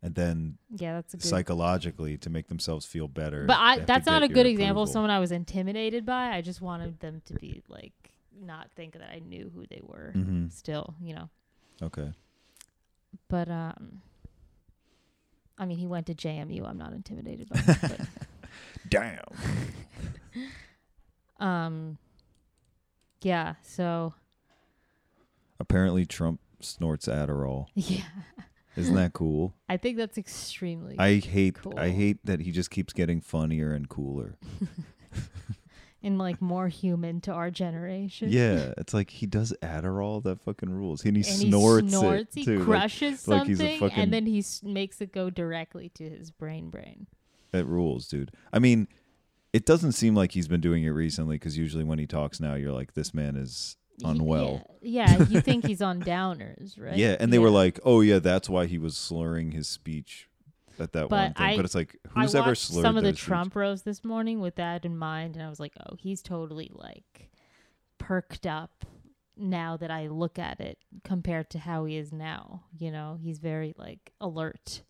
Speaker 6: and then
Speaker 5: that's a good.
Speaker 6: psychologically to make themselves feel better.
Speaker 5: but
Speaker 6: they
Speaker 5: I,
Speaker 6: have to
Speaker 5: that's not a
Speaker 6: get
Speaker 5: good
Speaker 6: your
Speaker 5: example of
Speaker 6: approval.
Speaker 5: someone I was intimidated by. I just wanted them to be like, not think that I knew who they were
Speaker 6: Mhm.
Speaker 5: still, you know.
Speaker 6: Okay.
Speaker 5: But, um, I mean, he went to JMU. I'm not intimidated by him. but
Speaker 6: Damn.
Speaker 5: Um, yeah, so,
Speaker 6: Apparently, Trump snorts Adderall.
Speaker 5: yeah.
Speaker 6: Isn't that cool?
Speaker 5: I think that's extremely
Speaker 6: I hate. I
Speaker 5: Cool.
Speaker 6: hate that he just keeps getting funnier and cooler.
Speaker 5: and like more human to our generation.
Speaker 6: yeah, it's like he does Adderall. That fucking rules. And he
Speaker 5: And
Speaker 6: snorts,
Speaker 5: he snorts,
Speaker 6: it
Speaker 5: he
Speaker 6: too. Like,
Speaker 5: crushes
Speaker 6: like he's a
Speaker 5: something,
Speaker 6: fucking-
Speaker 5: and then he s- makes it go directly to his brain. Brain.
Speaker 6: It rules, dude. I mean, it doesn't seem like he's been doing it recently because usually when he talks now, you're like, this man is
Speaker 5: Y-
Speaker 6: unwell.
Speaker 5: Yeah, yeah, you think he's on downers,
Speaker 6: Yeah.
Speaker 5: right?
Speaker 6: and they were like, oh, yeah, that's why he was slurring his speech at that one
Speaker 5: But
Speaker 6: thing.
Speaker 5: I-
Speaker 6: but it's like,
Speaker 5: I
Speaker 6: who's ever
Speaker 5: watched
Speaker 6: slurred
Speaker 5: some of the
Speaker 6: their speech?
Speaker 5: Trump rows this morning with that in mind, and I was like, oh, he's totally like perked up now that I look at it compared to how he is now. You know, he's very like alert,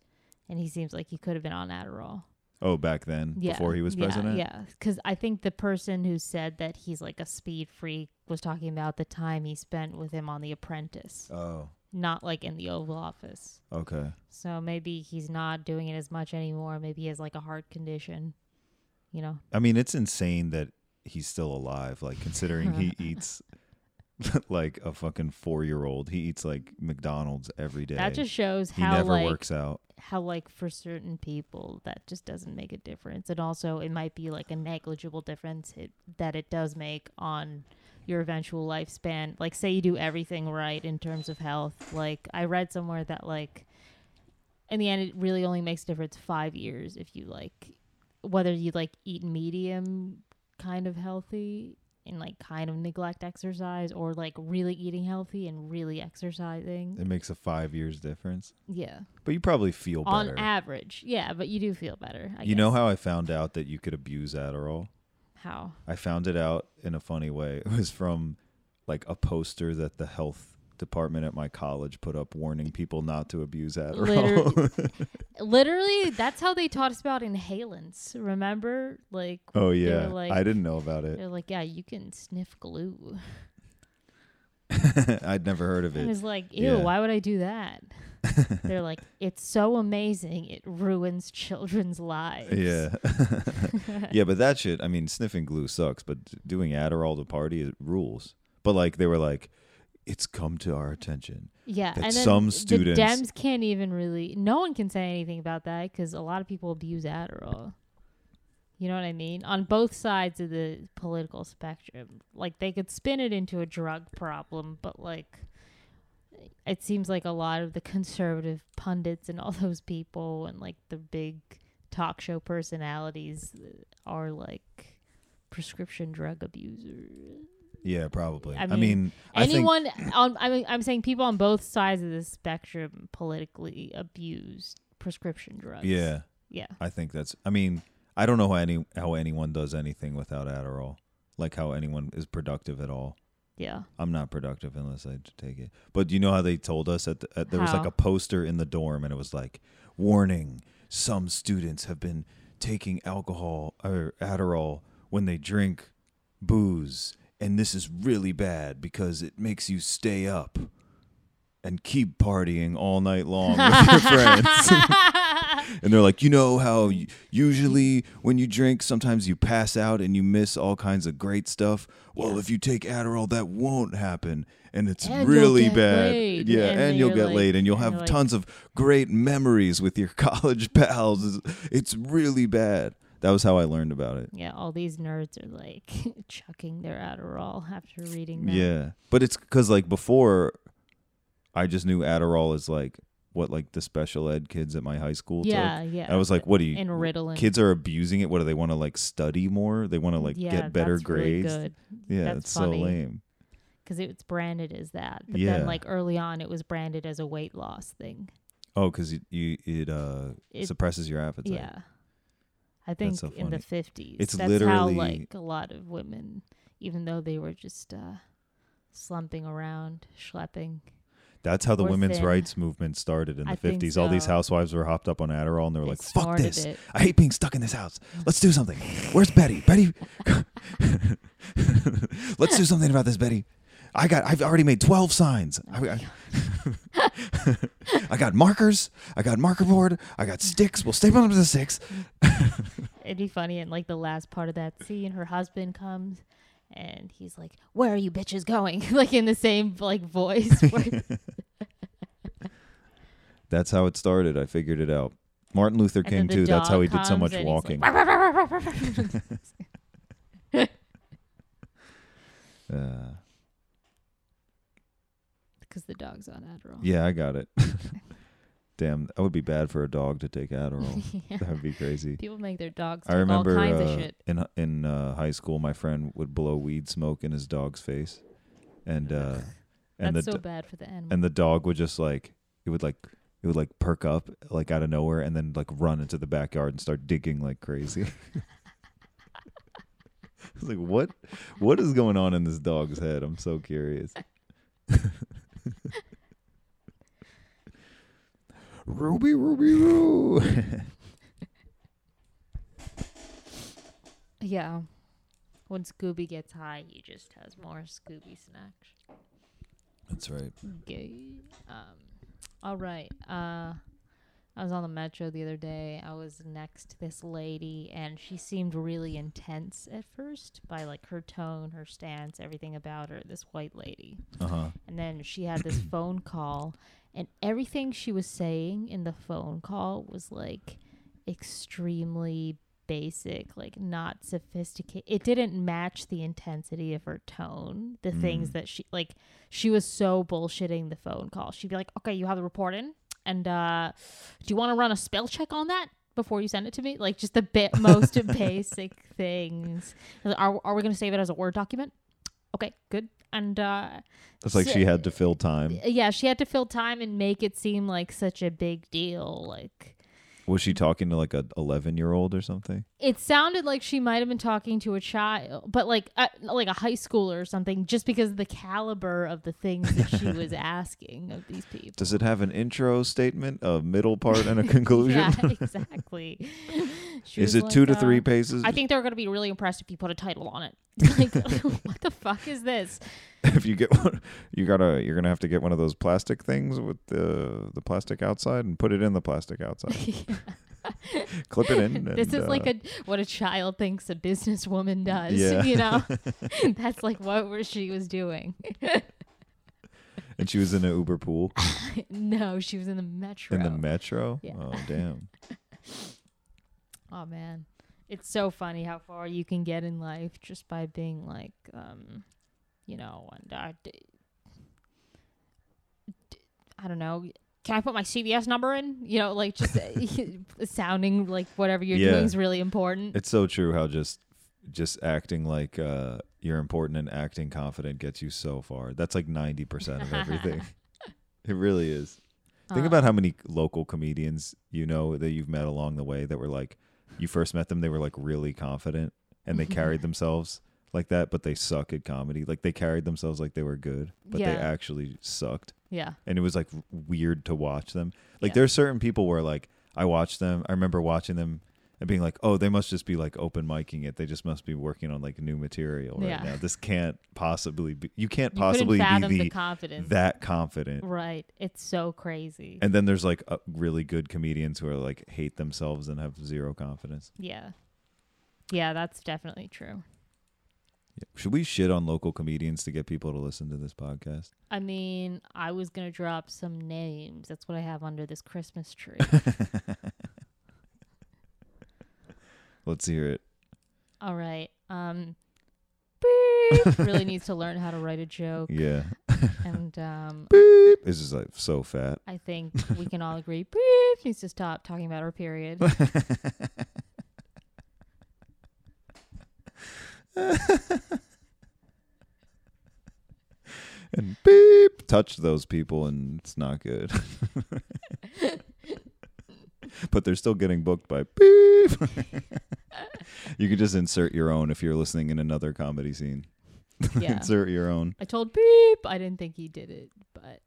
Speaker 5: and he seems like he could have been on Adderall.
Speaker 6: Oh, back then,
Speaker 5: Yeah,
Speaker 6: before he was
Speaker 5: yeah,
Speaker 6: president.
Speaker 5: Yeah, because I think the person who said that he's like a speed freak was talking about the time he spent with him on The Apprentice,
Speaker 6: Oh,
Speaker 5: not like in the Oval Office.
Speaker 6: okay.
Speaker 5: So maybe he's not doing it as much anymore. Maybe he has like a heart condition. You know,
Speaker 6: I mean, it's insane that he's still alive. Like considering he eats like a fucking four-year-old. He eats like McDonald's every day.
Speaker 5: that just shows
Speaker 6: he
Speaker 5: how
Speaker 6: never
Speaker 5: like
Speaker 6: works out.
Speaker 5: how like for certain people that just doesn't make a difference, and also it might be like a negligible difference it, that it does make on your eventual lifespan. Like, say you do everything right in terms of health. Like, I read somewhere that like in the end, it really only makes a difference five years if you like whether you like eat medium kind of healthy and like kind of neglect exercise or like really eating healthy and really exercising.
Speaker 6: It makes a five years difference,
Speaker 5: Yeah.
Speaker 6: but you probably feel
Speaker 5: On
Speaker 6: better.
Speaker 5: average. Yeah, but you do feel better. I
Speaker 6: you know
Speaker 5: guess.
Speaker 6: how I found out that you could abuse Adderall?
Speaker 5: how
Speaker 6: I found it out in a funny way. It was from like a poster that the health department at my college put up warning people not to abuse Adderall.
Speaker 5: literally that's how they taught us about inhalants. Remember, like
Speaker 6: oh
Speaker 5: they were
Speaker 6: yeah.
Speaker 5: like,
Speaker 6: I didn't know about it.
Speaker 5: They're like, yeah, you can sniff glue.
Speaker 6: I'd never heard of
Speaker 5: I
Speaker 6: it.
Speaker 5: was like, ew,
Speaker 6: yeah.
Speaker 5: why would I do that? They're like, it's so amazing. It ruins children's lives.
Speaker 6: Yeah. yeah, but that shit, I mean, sniffing glue sucks, but d- doing Adderall to party it rules. But like they were like it's come to our attention.
Speaker 5: Yeah,
Speaker 6: that
Speaker 5: and then
Speaker 6: some
Speaker 5: the
Speaker 6: students-
Speaker 5: Dems can't even really. No one can say anything about that because a lot of people abuse Adderall. You know what I mean? On both sides of the political spectrum, like they could spin it into a drug problem, but like it seems like a lot of the conservative pundits and all those people and like the big talk show personalities are like prescription drug abusers.
Speaker 6: Yeah, probably.
Speaker 5: I
Speaker 6: I mean, I,
Speaker 5: mean,
Speaker 6: think
Speaker 5: anyone on I mean I'm saying people on both sides of the spectrum politically abuse prescription drugs.
Speaker 6: Yeah.
Speaker 5: Yeah.
Speaker 6: I think that's. I mean, I don't know how any how anyone does anything without Adderall. Like how anyone is productive at all.
Speaker 5: Yeah.
Speaker 6: I'm not productive unless I take it. But you know how they told us at, the, at there was like
Speaker 5: How?
Speaker 6: a poster in the dorm, and it was like, "Warning: Some students have been taking alcohol or Adderall when they drink booze, and this is really bad because it makes you stay up." And keep partying all night long with your friends. And they're like, you know how y- usually when you drink, sometimes you pass out and you miss all kinds of great stuff. Well, if you take Adderall, that won't happen, and it's
Speaker 5: And you'll
Speaker 6: really
Speaker 5: get
Speaker 6: bad.
Speaker 5: laid.
Speaker 6: Yeah,
Speaker 5: And
Speaker 6: and,
Speaker 5: then
Speaker 6: you'll
Speaker 5: you're
Speaker 6: get
Speaker 5: like-
Speaker 6: laid, and you'll
Speaker 5: and
Speaker 6: have
Speaker 5: you're like-
Speaker 6: tons of great memories with your college pals. It's- It's really bad. That was how I learned about it.
Speaker 5: yeah, all these nerds are like chucking their Adderall after reading that.
Speaker 6: Yeah, but it's because like before, I just knew Adderall is like what like the special ed kids at my high school. took.
Speaker 5: Yeah, yeah.
Speaker 6: I was like, what do you?
Speaker 5: in Ritalin.
Speaker 6: kids are abusing it. What do they want to like study more? They want to like
Speaker 5: yeah,
Speaker 6: get better
Speaker 5: that's really
Speaker 6: grades.
Speaker 5: good.
Speaker 6: Yeah,
Speaker 5: That's
Speaker 6: it's
Speaker 5: funny.
Speaker 6: so lame.
Speaker 5: Because it's branded as that. But
Speaker 6: Yeah.
Speaker 5: then like early on it was branded as a weight loss thing.
Speaker 6: Oh, because it, you it uh
Speaker 5: It-
Speaker 6: suppresses your appetite.
Speaker 5: Yeah. I think
Speaker 6: so
Speaker 5: in the
Speaker 6: funny.
Speaker 5: 50s.
Speaker 6: It's
Speaker 5: that's how
Speaker 6: literally-
Speaker 5: like a lot of women even though they were just uh slumping around, schlepping.
Speaker 6: That's how the
Speaker 5: Or
Speaker 6: women's
Speaker 5: thin.
Speaker 6: rights movement started in the
Speaker 5: I think
Speaker 6: fifties. All these
Speaker 5: so.
Speaker 6: housewives were hopped up on Adderall and they were
Speaker 5: They
Speaker 6: like, "Fuck
Speaker 5: snorted
Speaker 6: this!
Speaker 5: it."
Speaker 6: I hate being stuck in this house. Let's do something. Where's Betty? Betty, let's do something about this, Betty." I got. I've already made twelve signs.
Speaker 5: Oh
Speaker 6: I, I, I got markers. I got marker board. I got sticks. We'll staple them to the sticks.
Speaker 5: It'd be funny in like the last part of that scene her husband comes and he's like, "Where are you bitches going?" like in the same like voice. where-
Speaker 6: That's how it started. I figured it out. Martin Luther
Speaker 5: and then the
Speaker 6: King too. That's how
Speaker 5: dog
Speaker 6: he did so
Speaker 5: comes
Speaker 6: much
Speaker 5: and he's
Speaker 6: walking.
Speaker 5: like,
Speaker 6: Uh,
Speaker 5: Because the dog's on Adderall.
Speaker 6: yeah, I got it. Damn, that would be bad for a dog to take Adderall. That would be crazy.
Speaker 5: People make their dogs
Speaker 6: I
Speaker 5: take
Speaker 6: remember
Speaker 5: all kinds
Speaker 6: uh,
Speaker 5: of shit.
Speaker 6: in in uh, high school, my friend would blow weed smoke in his dog's face, and uh, and
Speaker 5: That's
Speaker 6: the
Speaker 5: so
Speaker 6: do-
Speaker 5: bad for the animal.
Speaker 6: and the dog would just like it would like it would like perk up like out of nowhere and then like run into the backyard and start digging like crazy. I was like, what what is going on in this dog's head? I'm so curious. Ruby, Ruby, Roo.
Speaker 5: Yeah. When Scooby gets high, he just has more Scooby snacks.
Speaker 6: That's right.
Speaker 5: Okay. Um, all right. Uh, I was on the metro the other day. I was next to this lady, and she seemed really intense at first by like her tone, her stance, everything about her. This white lady,
Speaker 6: Uh huh.
Speaker 5: and then she had this phone call, and everything she was saying in the phone call was like extremely basic, like not sophisticated. It didn't match the intensity of her tone. The things that she like, she was so bullshitting the phone call. She'd be like, "Okay, you have the report in, and uh, do you want to run a spell check on that?" Before you send it to me, like just the bit most basic things. Are, are we going to save it as a Word document? Okay, good. And uh,
Speaker 6: That's like she had to fill time.
Speaker 5: yeah, she had to fill time and make it seem like such a big deal. Like
Speaker 6: Was she talking to like a 11 year old or something?
Speaker 5: it sounded like she might have been talking to a child, but like uh, like a high schooler or something, just because of the caliber of the things that she was asking of these people.
Speaker 6: Does it have an intro statement, a middle part, and a conclusion?
Speaker 5: Yeah, exactly. She
Speaker 6: Is
Speaker 5: was
Speaker 6: it two
Speaker 5: like,
Speaker 6: to three
Speaker 5: uh,
Speaker 6: pages?
Speaker 5: I think they're going to be really impressed if you put a title on it. Like, what the fuck is this?
Speaker 6: if you get one, you gotta you're gonna have to get one of those plastic things with the the plastic outside and put it in the plastic outside. Clip it in.
Speaker 5: This
Speaker 6: and,
Speaker 5: is like
Speaker 6: uh,
Speaker 5: a what a child thinks a businesswoman does.
Speaker 6: Yeah.
Speaker 5: You know, that's like what were- she was doing.
Speaker 6: and she was in an Uber pool
Speaker 5: no, she was in the metro.
Speaker 6: in the metro.
Speaker 5: Yeah.
Speaker 6: Oh damn!
Speaker 5: oh man, it's so funny how far you can get in life just by being like, um, you know, and uh, d- d- I don't know. Can I put my CVS number in? You know, like just uh, sounding like whatever you're
Speaker 6: Yeah.
Speaker 5: doing is really important.
Speaker 6: It's so true how just just acting like uh, you're important and acting confident gets you so far. That's like ninety percent of everything. it really is. Think about how many local comedians you know that you've met along the way that were like, you first met them, they were like really confident and they carried themselves like that, but they suck at comedy. Like they carried themselves like they were good, but
Speaker 5: Yeah.
Speaker 6: they actually sucked.
Speaker 5: yeah.
Speaker 6: And it was like weird to watch them. Like
Speaker 5: Yeah.
Speaker 6: there's certain people where like I watch them, I remember watching them and being like, oh, they must just be like open micing it. They just must be working on like new material right
Speaker 5: Yeah.
Speaker 6: now. This can't possibly be, you can't
Speaker 5: You
Speaker 6: possibly
Speaker 5: couldn't fathom
Speaker 6: be
Speaker 5: the
Speaker 6: the,
Speaker 5: confidence.
Speaker 6: that confident.
Speaker 5: Right. It's so crazy.
Speaker 6: And then there's like uh, really good comedians who are like hate themselves and have zero confidence.
Speaker 5: yeah. Yeah, that's definitely true.
Speaker 6: Should we shit on local comedians to get people to listen to this podcast?
Speaker 5: I mean, I was going to drop some names. That's what I have under this Christmas tree.
Speaker 6: Let's hear it.
Speaker 5: All right. Um beep. really needs to learn how to write a joke
Speaker 6: Yeah.
Speaker 5: and um
Speaker 6: Beep. This is like so fat.
Speaker 5: I think we can all agree beep needs to stop talking about her period.
Speaker 6: And beep. Touch those people and it's not good. but they're still getting booked by beep. you could just insert your own if you're listening in another comedy scene.
Speaker 5: Yeah.
Speaker 6: Insert your own.
Speaker 5: I told beep. I didn't think he did it, but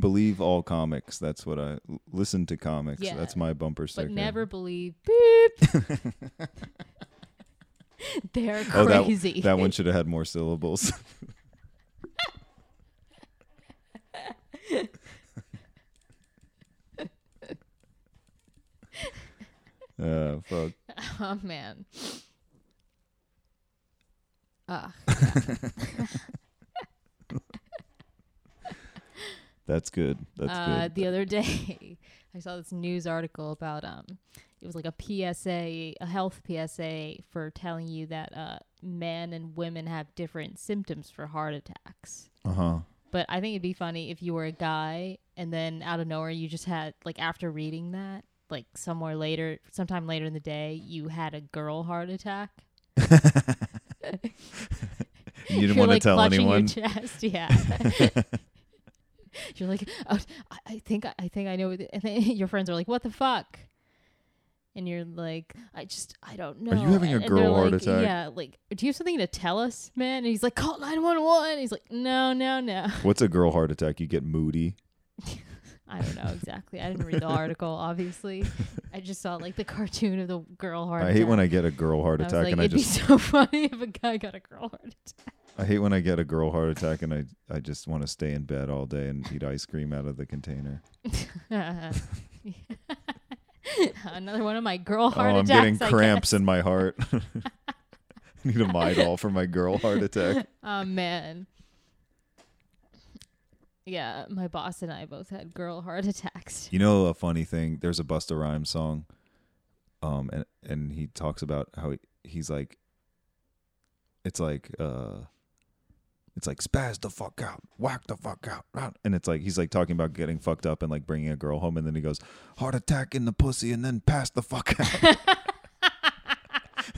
Speaker 6: Believe all comics. That's what I l- listen to comics.
Speaker 5: Yeah.
Speaker 6: That's my bumper sticker.
Speaker 5: but never believe beep. They're
Speaker 6: Oh, that,
Speaker 5: crazy.
Speaker 6: that one should have had more syllables. Uh, fuck.
Speaker 5: Oh man. Ugh.
Speaker 6: That's good. That's
Speaker 5: uh,
Speaker 6: good.
Speaker 5: the other day, I saw this news article about um, it was like a PSA, a health PSA for telling you that uh, men and women have different symptoms for heart attacks.
Speaker 6: Uh huh.
Speaker 5: But I think it'd be funny if you were a guy and then out of nowhere you just had like after reading that, like somewhere later, sometime later in the day, you had a girl heart attack.
Speaker 6: You didn't
Speaker 5: You're,
Speaker 6: want to
Speaker 5: like,
Speaker 6: tell
Speaker 5: clutching
Speaker 6: anyone.
Speaker 5: Your chest, yeah. You're like, oh, I- I think I think I know. What the-" and then your friends are like, "What the fuck?" and you're like, I just, I don't know.
Speaker 1: Are you having a
Speaker 5: And they're
Speaker 1: girl heart
Speaker 5: like,
Speaker 1: attack?
Speaker 5: Yeah, like, do you have something to tell us, man? And he's like, call nine one one. He's like, no, no, no.
Speaker 6: What's a girl heart attack? You get moody.
Speaker 5: I don't know exactly. I didn't read the article, obviously. I just saw like the cartoon of the girl heart.
Speaker 6: I hate when I get a girl heart
Speaker 5: I was
Speaker 6: attack
Speaker 5: like,
Speaker 6: and I
Speaker 5: it'd
Speaker 6: just
Speaker 5: be so funny if a guy got a girl heart attack.
Speaker 6: I hate when I get a girl heart attack and I I just want to stay in bed all day and eat ice cream out of the container.
Speaker 5: Another one of my girl heart
Speaker 6: oh, I'm
Speaker 5: attacks.
Speaker 6: getting
Speaker 5: I
Speaker 6: cramps
Speaker 5: guess.
Speaker 6: in my heart. Need a Midol for my girl heart attack.
Speaker 5: Oh man. Yeah, my boss and I both had girl heart attacks.
Speaker 6: You know a funny thing? There's a Busta Rhymes song, um, and and he talks about how he, he's like, it's like uh, it's like spaz the fuck out, whack the fuck out, rah." and it's like he's like talking about getting fucked up and like bringing a girl home, and then he goes heart attack in the pussy, and then pass the fuck out.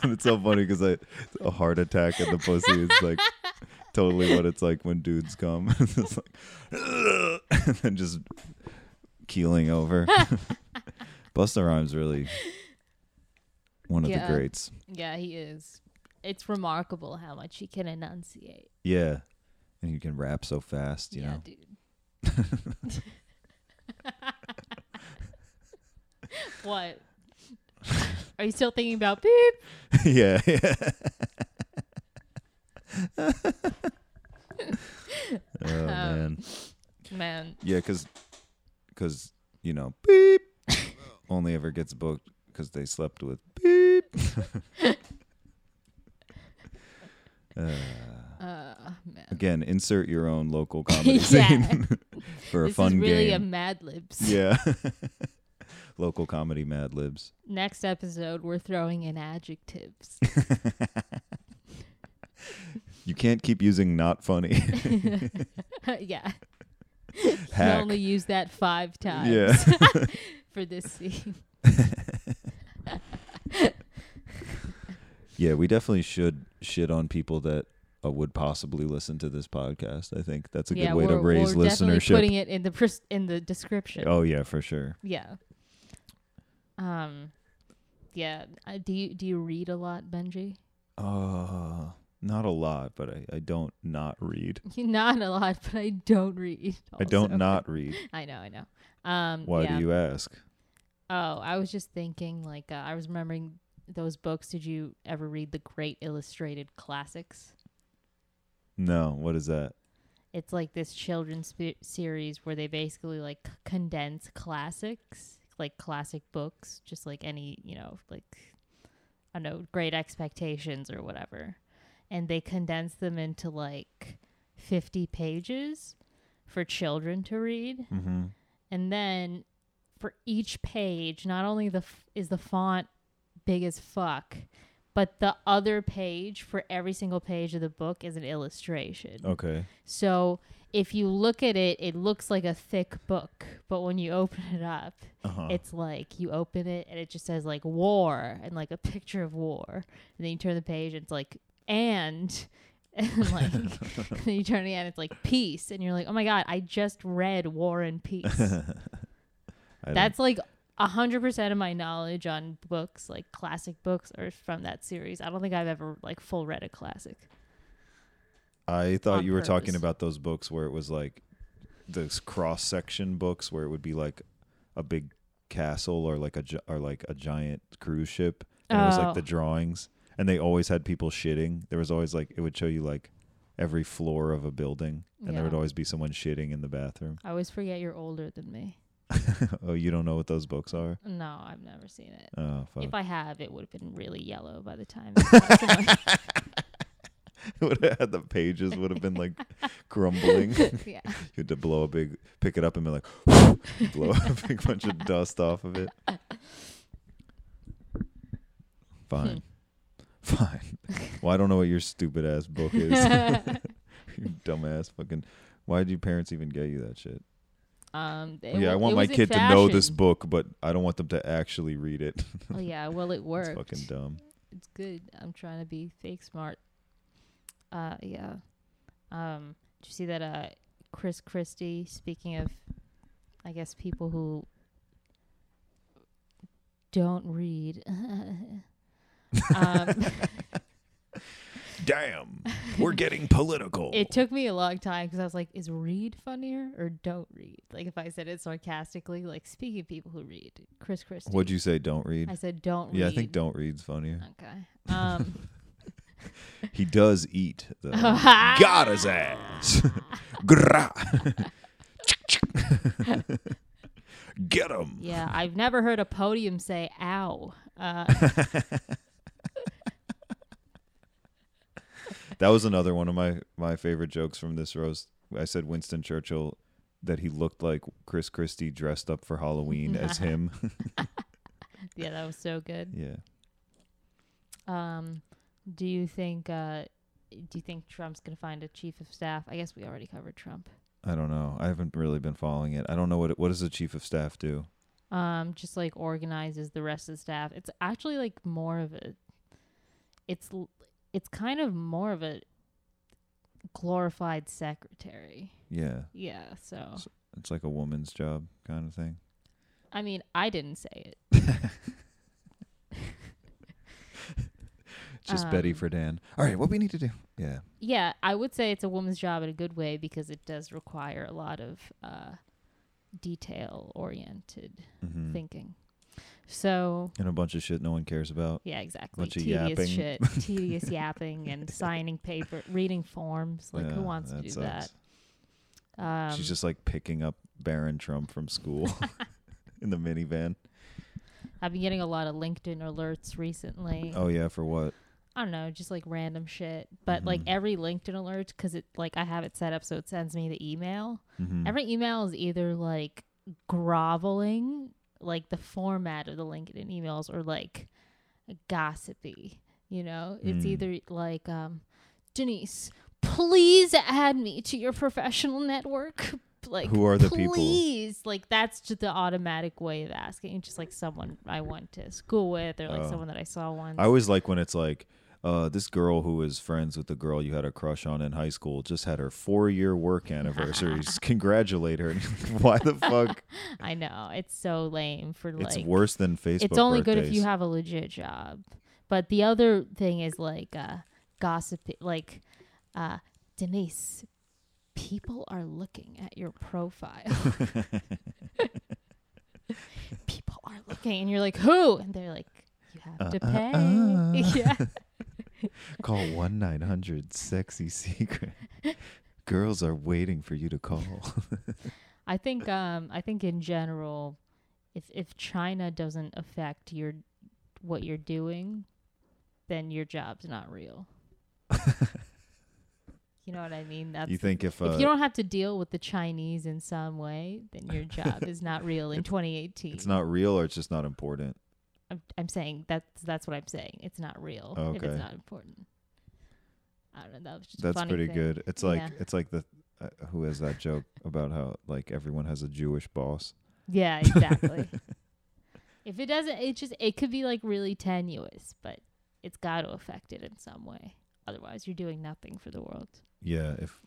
Speaker 6: and it's so funny because I a heart attack in the pussy is like totally what it's like when dudes come. it's just like, and then just keeling over. Busta Rhymes really one of
Speaker 5: Yeah.
Speaker 6: the greats.
Speaker 5: Yeah, he is. It's remarkable how much he can enunciate.
Speaker 6: Yeah. And he can rap so fast, you
Speaker 5: yeah,
Speaker 6: know.
Speaker 5: dude. what? Are you still thinking about beep?
Speaker 6: yeah, yeah. oh
Speaker 5: Um,
Speaker 6: man.
Speaker 5: Man,
Speaker 6: Yeah, cuz cuz you know, beep only ever gets booked cuz they slept with beep.
Speaker 5: uh, man.
Speaker 6: Again, insert your own local comedy
Speaker 5: Yeah.
Speaker 6: scene for a
Speaker 5: this
Speaker 6: fun
Speaker 5: is really
Speaker 6: game.
Speaker 5: a Mad Libs.
Speaker 6: Yeah. Local comedy Mad Libs.
Speaker 5: Next episode, we're throwing in adjectives.
Speaker 6: You can't keep using not funny.
Speaker 5: yeah, you
Speaker 6: Hack.
Speaker 5: only use that five times
Speaker 6: Yeah.
Speaker 5: for this scene.
Speaker 6: yeah, we definitely should shit on people that uh, would possibly listen to this podcast. I think that's a
Speaker 5: yeah,
Speaker 6: good way
Speaker 5: we're,
Speaker 6: to raise
Speaker 5: we're definitely putting
Speaker 6: listenership.
Speaker 5: it in the pres- in the description.
Speaker 6: Oh yeah, for sure.
Speaker 5: Yeah. Um. Yeah. Uh, do you do you read a lot, Benji?
Speaker 6: Uh not a lot, but I, I don't not read.
Speaker 5: Not a lot, but I don't read.
Speaker 6: I don't
Speaker 5: also.
Speaker 6: not read.
Speaker 5: I know. I know. Um.
Speaker 6: Why
Speaker 5: Oh, yeah.
Speaker 6: do you ask?
Speaker 5: Oh, I was just thinking, like, uh, I was remembering those books. Did you ever read the Great Illustrated Classics?
Speaker 6: No, what is that?
Speaker 5: It's like this children's spe- series where they basically like c- condense classics, like classic books, just like any, you know, like, I don't know, Great Expectations or whatever. And they condense them into like 50 pages for children to read.
Speaker 6: Mm-hmm.
Speaker 5: and then for each page not only the f- is the font big as fuck but the other page for every single page of the book is an illustration
Speaker 6: Okay.
Speaker 5: so if you look at it it looks like a thick book but when you open it up
Speaker 6: Uh-huh.
Speaker 5: it's like you open it and it just says like war and like a picture of war and then you turn the page and it's like and and like and then you turn it again it's like peace and you're like oh my god i just read war and peace
Speaker 6: I don't-
Speaker 5: that's like a hundred percent of my knowledge on books, like classic books, are from that series. I don't think I've ever like full read a classic.
Speaker 6: I thought
Speaker 5: on
Speaker 6: you were talking
Speaker 5: purpose.
Speaker 6: about those books where it was like those cross section books where it would be like a big castle or like a gi- or like a giant cruise ship and it was
Speaker 5: Oh.
Speaker 6: like the drawings and they always had people shitting. There was always like it would show you like every floor of a building and
Speaker 5: Yeah.
Speaker 6: there would always be someone shitting in the bathroom.
Speaker 5: I always forget you're older than me.
Speaker 6: oh, you don't know what those books are?
Speaker 5: No, I've never seen it.
Speaker 6: Oh fuck.
Speaker 5: If I have, it would have been really yellow by the time. it
Speaker 6: would have had the pages would have been like crumbling.
Speaker 5: was- yeah,
Speaker 6: You had to blow a big, pick it up and be like, blow a big bunch of dust off of it. Fine.
Speaker 5: Hmm.
Speaker 6: Fine. Well, I don't know what your stupid ass book is. you dumbass fucking. Why did your parents even get you that shit?
Speaker 5: um, it
Speaker 6: Oh, yeah, I
Speaker 5: wa-
Speaker 6: want
Speaker 5: it
Speaker 6: my
Speaker 5: was in
Speaker 6: kid to know this
Speaker 5: fashion.
Speaker 6: book, but I don't want them to actually read it.
Speaker 5: Oh yeah, well it
Speaker 6: it's
Speaker 5: worked.
Speaker 6: fucking dumb.
Speaker 5: it's good. I'm trying to be fake smart. Uh, yeah. Um, did you see that? Uh, Chris Christie. Speaking of, I guess people who don't read. um,
Speaker 6: Damn, we're getting political.
Speaker 5: it took me a long time because I was like, is read funnier or don't read? Like if I said it sarcastically, like speaking of people who read, Chris Christie.
Speaker 6: What'd you say? Don't read.
Speaker 5: I said don't
Speaker 6: yeah,
Speaker 5: read.
Speaker 6: I think don't read's funnier.
Speaker 5: Okay. Um,
Speaker 6: He does eat though.
Speaker 5: Ah.
Speaker 6: Got his ass. Gra. Get him.
Speaker 5: yeah, I've never heard a podium say ow. Uh,
Speaker 6: That was another one of my my favorite jokes from this roast. I said Winston Churchill that he looked like Chris Christie dressed up for Halloween as him.
Speaker 5: yeah, that was so good.
Speaker 6: yeah.
Speaker 5: Um, do you think uh, do you think Trump's gonna find a chief of staff? I guess we already covered Trump.
Speaker 6: I don't know. I haven't really been following it. I don't know what it, what does the chief of staff do?
Speaker 5: um just like organizes the rest of the staff it's actually like more of a it's l- it's kind of more of a glorified secretary
Speaker 6: Yeah.
Speaker 5: yeah so
Speaker 6: S- It's like a woman's job kind of thing.
Speaker 5: i mean i didn't say it
Speaker 6: Just Betty
Speaker 5: Um,
Speaker 6: for Dan. All right, what we need to do. Yeah.
Speaker 5: yeah i would say it's a woman's job in a good way because it does require a lot of uh detail oriented
Speaker 6: Mhm.
Speaker 5: thinking so
Speaker 6: And a bunch of shit no one cares about.
Speaker 5: yeah exactly
Speaker 6: Bunch of
Speaker 5: tedious
Speaker 6: yapping.
Speaker 5: shit tedious yapping and signing paper reading forms like
Speaker 6: Yeah,
Speaker 5: who wants to do
Speaker 6: sucks.
Speaker 5: that Um,
Speaker 6: She's just like picking up Barron Trump from school in the minivan.
Speaker 5: I've been getting a lot of LinkedIn alerts recently.
Speaker 6: Oh yeah, for what?
Speaker 5: I don't know, just like random shit. But like every LinkedIn alert, because it like I have it set up so it sends me the email.
Speaker 6: Mm-hmm.
Speaker 5: Every email is either like groveling, like the format of the LinkedIn emails, or like gossipy. You know, it's
Speaker 6: Hmm.
Speaker 5: either like um, Denise, please add me to your professional network. Like
Speaker 6: Who are the people?
Speaker 5: Please, like that's just the automatic way of asking. Just like someone I went to school with, or like someone that I saw once.
Speaker 6: Oh. I always like when it's like, uh, this girl who is friends with the girl you had a crush on in high school just had her four year work anniversary. Just Congratulate her. Why the fuck?
Speaker 5: I know it's so lame for like.
Speaker 6: it's worse than Facebook.
Speaker 5: It's only
Speaker 6: birthdays.
Speaker 5: good if you have a legit job. But the other thing is like uh, gossip, like uh, Denise. People are looking at your profile. people are looking, and you're like, who? And they're like, you have to
Speaker 6: Uh,
Speaker 5: pay. yeah.
Speaker 6: call one nine hundred sexy secret. Girls are waiting for you to call.
Speaker 5: I think um I think in general, if if China doesn't affect your what you're doing, then your job's not real. you know what I mean? That's
Speaker 6: you think if, uh,
Speaker 5: if you don't have to deal with the Chinese in some way, then your job is not real in 2018.
Speaker 6: it's not real or it's just not important?
Speaker 5: I'm, I'm saying that's that's what I'm saying. It's not real if
Speaker 6: Okay.
Speaker 5: it's not important. I don't know. That was just a
Speaker 6: That's
Speaker 5: funny
Speaker 6: pretty
Speaker 5: thing.
Speaker 6: good. It's like
Speaker 5: Yeah.
Speaker 6: it's like the uh, who has that joke about how like everyone has a Jewish boss.
Speaker 5: Yeah, exactly. if it doesn't, it just it could be like really tenuous, but it's got to affect it in some way. Otherwise, you're doing nothing for the world.
Speaker 6: Yeah, if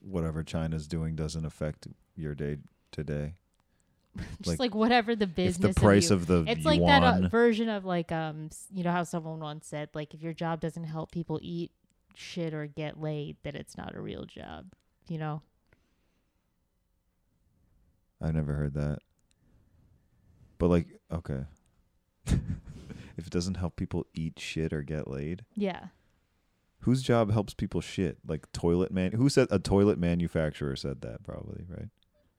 Speaker 6: whatever China's doing doesn't affect your day to day.
Speaker 5: just
Speaker 6: Like,
Speaker 5: like, whatever the
Speaker 6: If
Speaker 5: business.
Speaker 6: the price
Speaker 5: you-
Speaker 6: of the
Speaker 5: it's
Speaker 6: yuan,
Speaker 5: like that uh, version of like um s- you know how someone once said like if your job doesn't help people eat shit or get laid then it's not a real job you know
Speaker 6: I've never heard that. But like, okay. if it doesn't help people eat shit or get laid,
Speaker 5: yeah
Speaker 6: whose job helps people shit? Like toilet man. Who said a toilet manufacturer said that? Probably right.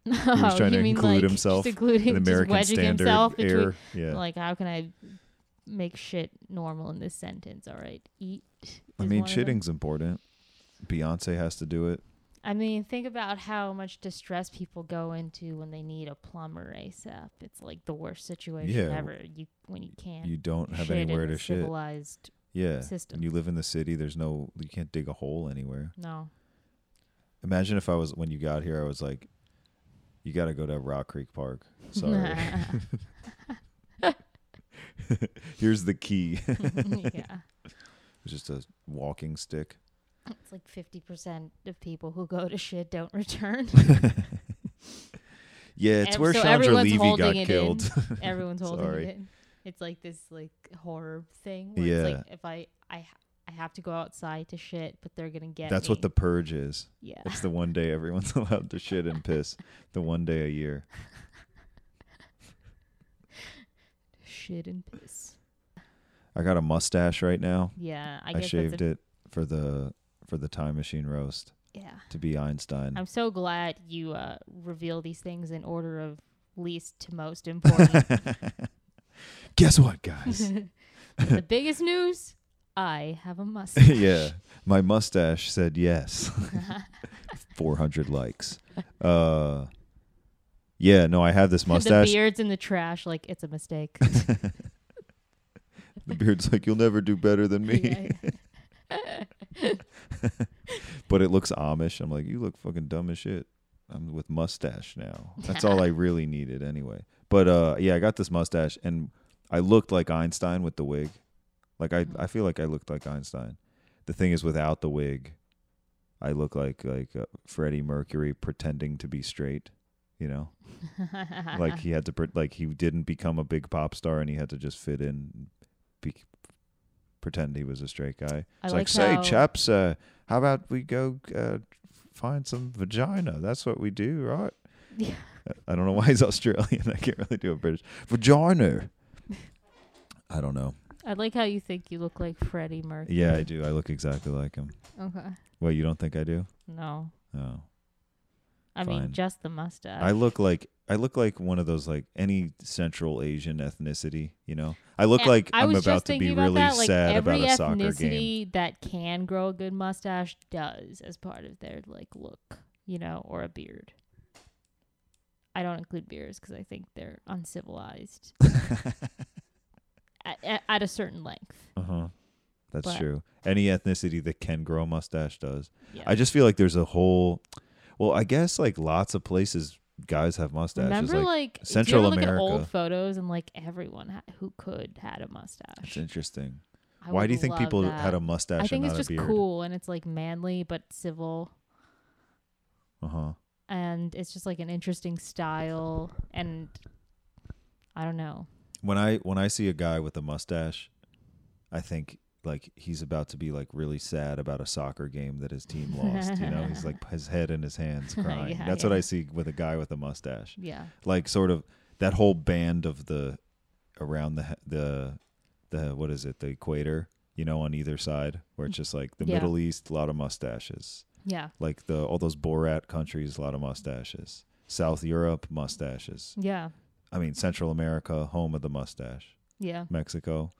Speaker 6: He was trying
Speaker 5: Oh, you
Speaker 6: to
Speaker 5: mean,
Speaker 6: include
Speaker 5: like,
Speaker 6: himself
Speaker 5: just including
Speaker 6: in American
Speaker 5: just wedging
Speaker 6: standard
Speaker 5: himself between
Speaker 6: air. Yeah.
Speaker 5: Like, how can I make shit normal in this sentence? All right, eat.
Speaker 6: I
Speaker 5: is
Speaker 6: mean,
Speaker 5: one of them.
Speaker 6: shitting's important. Beyonce has to do it.
Speaker 5: I mean, think about how much distress people go into when they need a plumber ASAP. It's like the worst situation
Speaker 6: Yeah.
Speaker 5: ever. You when you can't
Speaker 6: You don't have
Speaker 5: shit
Speaker 6: anywhere
Speaker 5: in
Speaker 6: to
Speaker 5: a
Speaker 6: shit.
Speaker 5: Civilized,
Speaker 6: Yeah.
Speaker 5: system.
Speaker 6: And you live in the city, there's no you can't dig a hole anywhere.
Speaker 5: no.
Speaker 6: Imagine if I was when you got here, I was like, You gotta go to Rock Creek Park. Sorry. Here's the key. It's
Speaker 5: yeah,
Speaker 6: just a walking stick.
Speaker 5: it's like fifty percent of people who go to shit don't return.
Speaker 6: Yeah, it's
Speaker 5: Ev-
Speaker 6: where
Speaker 5: so
Speaker 6: Chandra
Speaker 5: everyone's
Speaker 6: Levy
Speaker 5: holding
Speaker 6: got
Speaker 5: it
Speaker 6: killed.
Speaker 5: In. Everyone's holding
Speaker 6: Sorry.
Speaker 5: it. In. It's like this like horror thing. Where It's like if I I ha- I have to go outside to shit, but they're gonna get.
Speaker 6: That's what
Speaker 5: me.
Speaker 6: the purge is.
Speaker 5: yeah.
Speaker 6: It's the one day everyone's allowed to shit and piss. The one day a year.
Speaker 5: shit and piss.
Speaker 6: I got a mustache right now.
Speaker 5: Yeah, I,
Speaker 6: I,
Speaker 5: guess
Speaker 6: shaved
Speaker 5: that's a,
Speaker 6: it for the for the time machine roast
Speaker 5: Yeah,
Speaker 6: to be Einstein.
Speaker 5: I'm so glad you uh, reveal these things in order of least to most important.
Speaker 6: Guess what, guys?
Speaker 5: the biggest news: I have a mustache.
Speaker 6: yeah, my mustache said yes. 400 likes. Uh, yeah, no, I have this mustache.
Speaker 5: the beard's in the trash. Like it's a mistake.
Speaker 6: The beard's like, you'll never do better than me.
Speaker 5: Yeah, yeah.
Speaker 6: But it looks Amish. I'm like, you look fucking dumb as shit. I'm with mustache now. That's all I really needed anyway. But uh, yeah, I got this mustache and I looked like Einstein with the wig. Like I, I feel like I looked like Einstein. The thing is, without the wig, I look like like uh, Freddie Mercury pretending to be straight. You know, like he had to pre- like he didn't become a big pop star and he had to just fit in, and be, pretend he was a straight guy.
Speaker 5: I like
Speaker 6: it's like, say,
Speaker 5: how-
Speaker 6: chaps, uh, how about we go uh, find some vagina? That's what we do, right?
Speaker 5: Yeah.
Speaker 6: I- I don't know why he's Australian. I can't really do a British vagina. I don't know.
Speaker 5: I like how you think you look like Freddie Mercury.
Speaker 6: Yeah, I do. I look exactly like him.
Speaker 5: Okay.
Speaker 6: Well, you don't think I do?
Speaker 5: No.
Speaker 6: Oh.
Speaker 5: I mean,
Speaker 6: Fine.
Speaker 5: just the mustache.
Speaker 6: I look like I look like one of those like any Central Asian ethnicity, you know. I look
Speaker 5: And
Speaker 6: like
Speaker 5: I
Speaker 6: I'm
Speaker 5: was
Speaker 6: about
Speaker 5: just
Speaker 6: to
Speaker 5: thinking
Speaker 6: be
Speaker 5: about
Speaker 6: really
Speaker 5: that, like,
Speaker 6: sad
Speaker 5: every
Speaker 6: about a soccer game.
Speaker 5: ethnicity that can grow a good mustache does as part of their like look, you know, or a beard. I don't include beards because I think they're uncivilized at, at, at a certain length.
Speaker 6: Uh huh. That's
Speaker 5: But-
Speaker 6: true. Any ethnicity that can grow a mustache does.
Speaker 5: Yeah.
Speaker 6: I just feel like there's a whole. Well, I guess like lots of places guys have mustaches.
Speaker 5: Remember,
Speaker 6: like,
Speaker 5: like, do you
Speaker 6: Central
Speaker 5: ever look at
Speaker 6: America.
Speaker 5: old photos and like everyone ha- who could had a
Speaker 6: it's
Speaker 5: mustache.
Speaker 6: interesting.
Speaker 5: I
Speaker 6: Why
Speaker 5: would
Speaker 6: do you think
Speaker 5: love
Speaker 6: people
Speaker 5: that.
Speaker 6: had a mustache
Speaker 5: I think
Speaker 6: and
Speaker 5: it's
Speaker 6: not
Speaker 5: just
Speaker 6: a beard?
Speaker 5: cool and it's like manly but civil
Speaker 6: Uh huh.
Speaker 5: and it's just like an interesting style and I don't know.
Speaker 6: when I when I see a guy with a mustache, I think like he's about to be like really sad about a soccer game that his team lost. You know, he's like his head in his hands crying.
Speaker 5: Yeah,
Speaker 6: That's
Speaker 5: yeah.
Speaker 6: what I see with a guy with a mustache.
Speaker 5: Yeah.
Speaker 6: Like sort of that whole band of the around the the the what is it the equator. You know, on either side, where it's just like the
Speaker 5: Yeah.
Speaker 6: Middle East, a lot of mustaches.
Speaker 5: Yeah.
Speaker 6: Like the all those Borat countries, a lot of mustaches. South Europe, mustaches.
Speaker 5: Yeah.
Speaker 6: I mean, Central America, home of the mustache.
Speaker 5: Yeah.
Speaker 6: Mexico.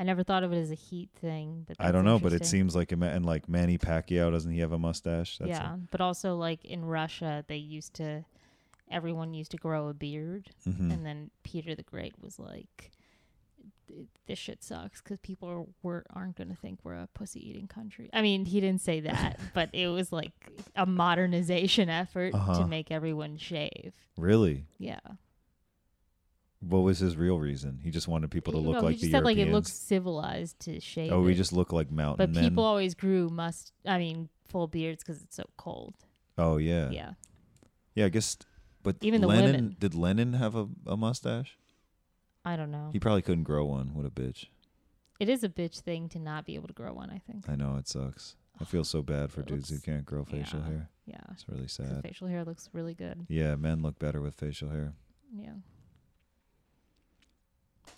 Speaker 5: I never thought of it as a heat thing, but
Speaker 6: I
Speaker 5: that's
Speaker 6: don't know, but it
Speaker 5: interesting.
Speaker 6: seems like it ma- and like Manny Pacquiao doesn't he have a mustache? That's
Speaker 5: Yeah, but also like in Russia they used to everyone used to grow a beard
Speaker 6: hmm
Speaker 5: and then Peter the Great was like "Th- this shit sucks because people are, were, aren't going to think we're a pussy eating country. I mean, he didn't say that, but it was like a modernization effort
Speaker 6: Uh-huh.
Speaker 5: to make everyone shave.
Speaker 6: Really?
Speaker 5: Yeah.
Speaker 6: What was his real reason? He just wanted people to
Speaker 5: You
Speaker 6: look
Speaker 5: know,
Speaker 6: like
Speaker 5: he just
Speaker 6: the
Speaker 5: said
Speaker 6: Europeans.
Speaker 5: like it looks civilized to shave.
Speaker 6: oh, we
Speaker 5: it.
Speaker 6: just look like
Speaker 5: but
Speaker 6: mountain men.
Speaker 5: people always grew must I mean full beards because it's so cold.
Speaker 6: oh yeah.
Speaker 5: Yeah.
Speaker 6: yeah, I guess. But
Speaker 5: Even the
Speaker 6: Lenin,
Speaker 5: women.
Speaker 6: did Lenin have a, a mustache?
Speaker 5: I don't know.
Speaker 6: He probably couldn't grow one. What a bitch!
Speaker 5: It is a bitch thing to not be able to grow one. I think.
Speaker 6: I know it sucks. I feel so bad for
Speaker 5: It
Speaker 6: dudes who
Speaker 5: looks-
Speaker 6: can't grow facial
Speaker 5: yeah.
Speaker 6: hair.
Speaker 5: Yeah.
Speaker 6: It's really
Speaker 5: 'Cause
Speaker 6: sad.
Speaker 5: facial hair looks really good.
Speaker 6: Yeah, men look better with facial hair.
Speaker 5: Yeah.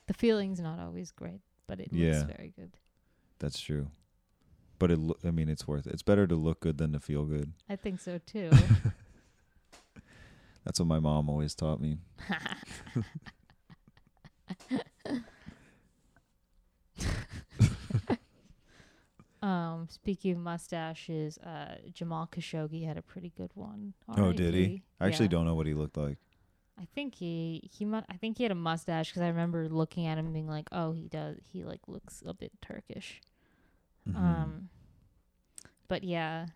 Speaker 5: The feeling's not always great, but it
Speaker 6: Yeah.
Speaker 5: looks very good.
Speaker 6: That's true. But it, lo- I mean, it's worth it. It's better to look good than to feel good.
Speaker 5: I think so too.
Speaker 6: That's what my mom always taught me.
Speaker 5: um, speaking of mustaches, uh, Jamal Khashoggi had a pretty good one.
Speaker 6: Oh, did he?
Speaker 5: RIP.
Speaker 6: I actually
Speaker 5: Yeah.
Speaker 6: don't know what he looked like.
Speaker 5: I think he he mu- I think he had a mustache because I remember looking at him and being like, oh, he does. He like looks a bit Turkish.
Speaker 6: Mm-hmm.
Speaker 5: Um, but yeah,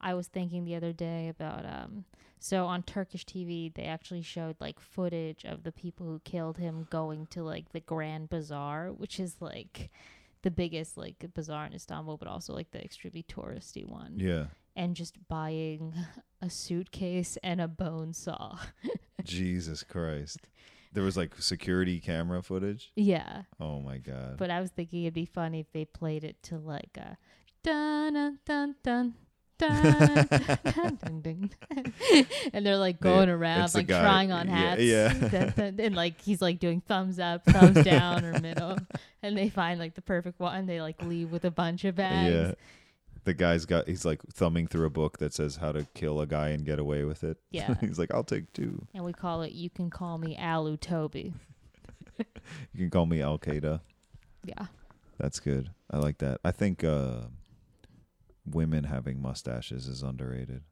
Speaker 5: I was thinking the other day about um, so on Turkish TV they actually showed like footage of the people who killed him going to like the Grand Bazaar, which is like the biggest like bazaar in Istanbul, but also like the extremely touristy one,
Speaker 6: yeah.
Speaker 5: and just buying a suitcase and a bone saw.
Speaker 6: Jesus Christ. there was like security camera footage.
Speaker 5: Yeah.
Speaker 6: Oh my god.
Speaker 5: But I was thinking it'd be funny if they played it to like a dun dun dun dun. dun, dun, dun, dun. and they're like
Speaker 6: They-
Speaker 5: going around
Speaker 6: it's the
Speaker 5: like
Speaker 6: guy-
Speaker 5: trying on
Speaker 6: yeah,
Speaker 5: hats
Speaker 6: yeah.
Speaker 5: Dun, dun, and like he's like doing thumbs up thumbs down or middle and they find like the perfect one they like leave with a bunch of bags
Speaker 6: yeah. The guy's got he's like thumbing through a book that says how to kill a guy and get away with it.
Speaker 5: Yeah.
Speaker 6: he's like, I'll take two.
Speaker 5: and we call it you can call me alu toby
Speaker 6: You can call me Al Qaeda.
Speaker 5: yeah
Speaker 6: That's good. I like that. I think uh women having mustaches is underrated.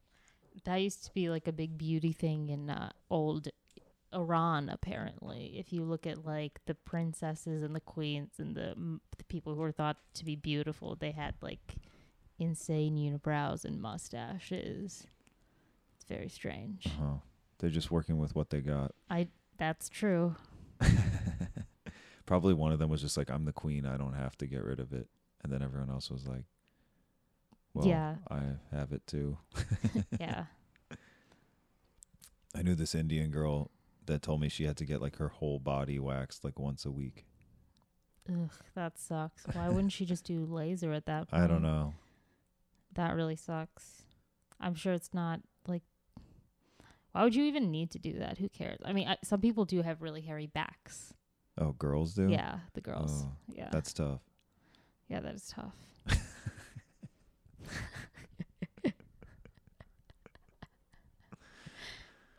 Speaker 5: that used to be like a big beauty thing in uh, old Iran, apparently. If you look at like the princesses and the queens and the, m- the people who were thought to be beautiful, they had like insane unibrows and mustaches. It's very strange.
Speaker 6: Huh. Uh-huh. They're just working with what they got.
Speaker 5: I that's true.
Speaker 6: Probably one of them was just like, I'm the queen, I don't have to get rid of it. And then everyone else was like, Well,
Speaker 5: Yeah.
Speaker 6: I have it too.
Speaker 5: Yeah.
Speaker 6: I knew this Indian girl that told me she had to get like her whole body waxed like once a week.
Speaker 5: Ugh, that sucks. Why wouldn't she just do laser at that point?
Speaker 6: I don't know.
Speaker 5: That really sucks. I'm sure it's not like. Why would you even need to do that? Who cares? I mean, I, some people do have really hairy backs.
Speaker 6: Oh, girls do?
Speaker 5: Yeah, the girls.
Speaker 6: Oh,
Speaker 5: yeah,
Speaker 6: That's tough.
Speaker 5: yeah, that is tough.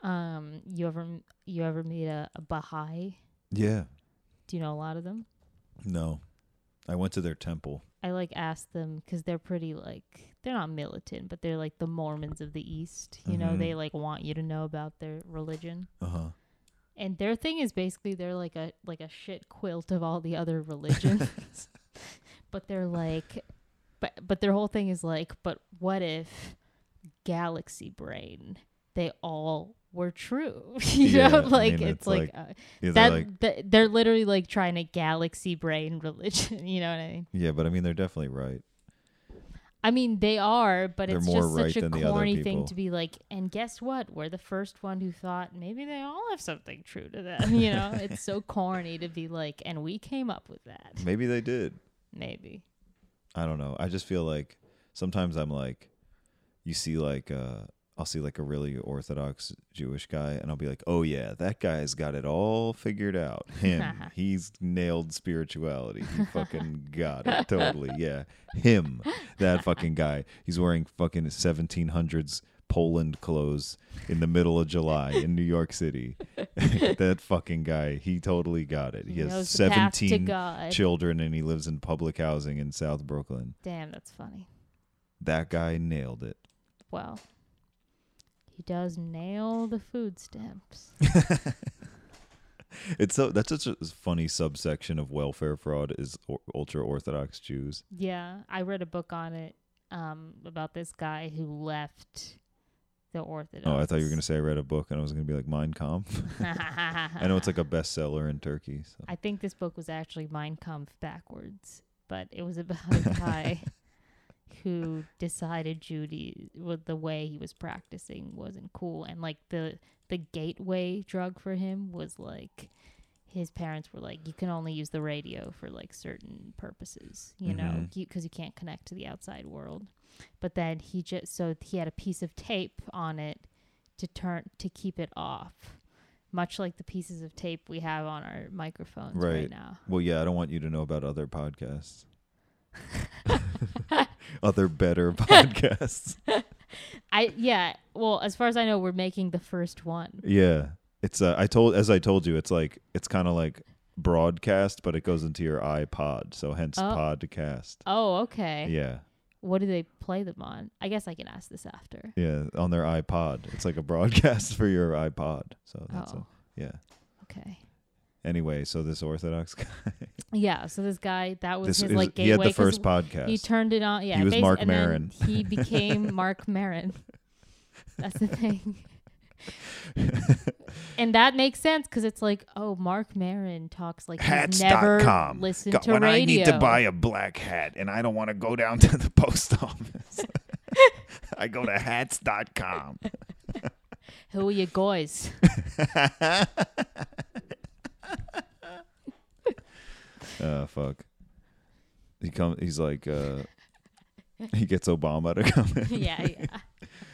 Speaker 5: um, you ever m- you ever meet a, a Baha'i?
Speaker 6: Yeah.
Speaker 5: Do you know a lot of them?
Speaker 6: No. I went to their temple.
Speaker 5: I like asked them 'cause they're pretty like they're not militant, but they're like the Mormons of the East. You know,
Speaker 6: Mhm.
Speaker 5: they like want you to know about their religion.
Speaker 6: Uh huh.
Speaker 5: and their thing is basically they're like a like a shit quilt of all the other religions but they're like but but their whole thing is like but what if galaxy brain they all were true you
Speaker 6: Yeah,
Speaker 5: know
Speaker 6: I
Speaker 5: like
Speaker 6: mean,
Speaker 5: it's,
Speaker 6: it's
Speaker 5: like,
Speaker 6: like-
Speaker 5: uh,
Speaker 6: Yeah, they're
Speaker 5: that
Speaker 6: like,
Speaker 5: th- they're literally like trying to galaxy brain religion you know what i mean
Speaker 6: yeah, but I mean, they're definitely right.
Speaker 5: I mean, they are, but
Speaker 6: They're
Speaker 5: it's
Speaker 6: more
Speaker 5: just
Speaker 6: right
Speaker 5: such a
Speaker 6: than the other
Speaker 5: corny thing
Speaker 6: people.
Speaker 5: to be like, and guess what? We're the first one who thought maybe they all have something true to them. You know, it's so corny to be like, and we came up with that.
Speaker 6: Maybe they did.
Speaker 5: Maybe.
Speaker 6: I don't know. I just feel like sometimes I'm like, you see like, uh, I'll see like a really orthodox Jewish guy and I'll be like, oh yeah, that guy's got it all figured out. Him. He's nailed spirituality. He fucking got it. Totally. Yeah. Him. That fucking guy. He's wearing fucking 1700s Poland clothes in the middle of July in New York City. that fucking guy. He totally got it. He,
Speaker 5: He
Speaker 6: has
Speaker 5: knows the path to
Speaker 6: 17
Speaker 5: God.
Speaker 6: children and he lives in public housing in South Brooklyn.
Speaker 5: Damn, that's funny.
Speaker 6: That guy nailed it.
Speaker 5: Well, he does nail the food stamps.
Speaker 6: It's so that's such a funny subsection of welfare fraud is or, ultra orthodox Jews.
Speaker 5: Yeah, I read a book on it um, about this guy who left the Orthodox.
Speaker 6: Oh, I thought you were gonna say I read a book and I was gonna be like Mein Kampf. I know it's like a bestseller in Turkey. So.
Speaker 5: I think this book was actually Mein Kampf backwards, but it was about a guy who decided Judy well, the way he was practicing wasn't cool, and like the the gateway drug for him was like his parents were like, you can only use the radio for like certain purposes, you know,
Speaker 6: Mhm.
Speaker 5: because you can't connect to the outside world. But then he just so he had a piece of tape on it to turn to keep it off much like the pieces of tape we have on our microphones right,
Speaker 6: Right.
Speaker 5: now.
Speaker 6: Well, yeah, I don't want you to know about other podcasts. other better podcasts.
Speaker 5: I yeah, well, as far as I know, we're making the first one.
Speaker 6: Yeah. It's uh, I told as I told you, it's like it's kind of like broadcast, but it goes into your iPod, so hence
Speaker 5: Oh.
Speaker 6: podcast.
Speaker 5: Oh, okay.
Speaker 6: Yeah.
Speaker 5: What do they play them on? I guess I can ask this after.
Speaker 6: Yeah, on their iPod. It's like a broadcast for your iPod. So that's
Speaker 5: Oh.
Speaker 6: a, yeah.
Speaker 5: Okay.
Speaker 6: Anyway, so this Orthodox guy,
Speaker 5: Yeah, so this guy that was
Speaker 6: this
Speaker 5: his
Speaker 6: is,
Speaker 5: like
Speaker 6: he had
Speaker 5: gateway
Speaker 6: the
Speaker 5: 'cause
Speaker 6: first podcast.
Speaker 5: He turned it on. Yeah,
Speaker 6: He was
Speaker 5: basi-
Speaker 6: Mark
Speaker 5: and then
Speaker 6: Maron.
Speaker 5: He became Mark Marin. That's the thing. and that makes sense because it's like, oh, Mark Marin talks like he's never
Speaker 6: Hats.com.
Speaker 5: listened
Speaker 6: Go-
Speaker 5: to
Speaker 6: when
Speaker 5: radio.
Speaker 6: I need to buy a black hat and I don't want to go down to the post office, I go to hats.com.
Speaker 5: Who are you guys?
Speaker 6: Uh, fuck. He come. He's like. Uh, he gets Obama to come in.
Speaker 5: yeah, yeah.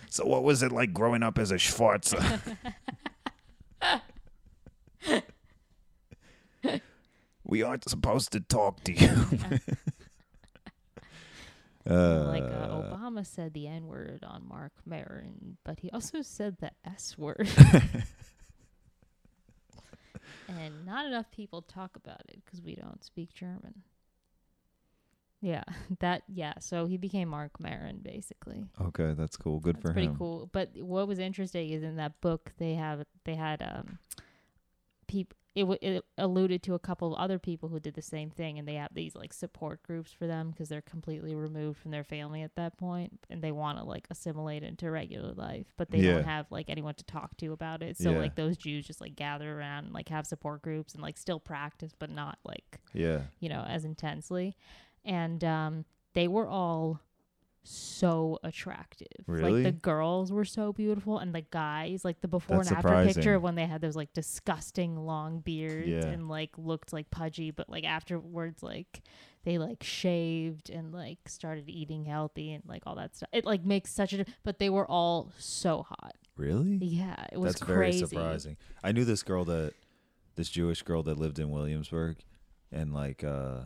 Speaker 6: So what was it like growing up as a Schwarzer? we aren't supposed to talk to you.
Speaker 5: like uh,
Speaker 6: Uh,
Speaker 5: Obama said the N word on Mark Maron, but he also said the S word. and not enough people talk about it because we don't speak German. Yeah, that yeah. So he became Mark Maron basically.
Speaker 6: Uh, Okay, that's cool. Good
Speaker 5: That's
Speaker 6: for
Speaker 5: pretty
Speaker 6: him.
Speaker 5: cool. But what was interesting is in that book they have they had um people it, w- it alluded to a couple of other people who did the same thing and they have these like support groups for them because they're completely removed from their family at that point and they want to like assimilate into regular life but they
Speaker 6: Yeah.
Speaker 5: don't have like anyone to talk to about it so
Speaker 6: Yeah.
Speaker 5: like those jews just like gather around and like have support groups and like still practice but not like
Speaker 6: Yeah.
Speaker 5: you know, as intensely. And um, they were all so attractive. Like
Speaker 6: Really?
Speaker 5: the girls were so beautiful and the guys, like the before
Speaker 6: That's
Speaker 5: and after
Speaker 6: surprising.
Speaker 5: picture of when they had those like disgusting long beards
Speaker 6: Yeah.
Speaker 5: and like looked like pudgy, but like afterwards like they like shaved and like started eating healthy and like all that stuff. It like makes such a di- but they were all so hot.
Speaker 6: Really?
Speaker 5: Yeah, it was
Speaker 6: That's
Speaker 5: crazy.
Speaker 6: very surprising. I knew this girl that this Jewish girl that lived in Williamsburg and like uh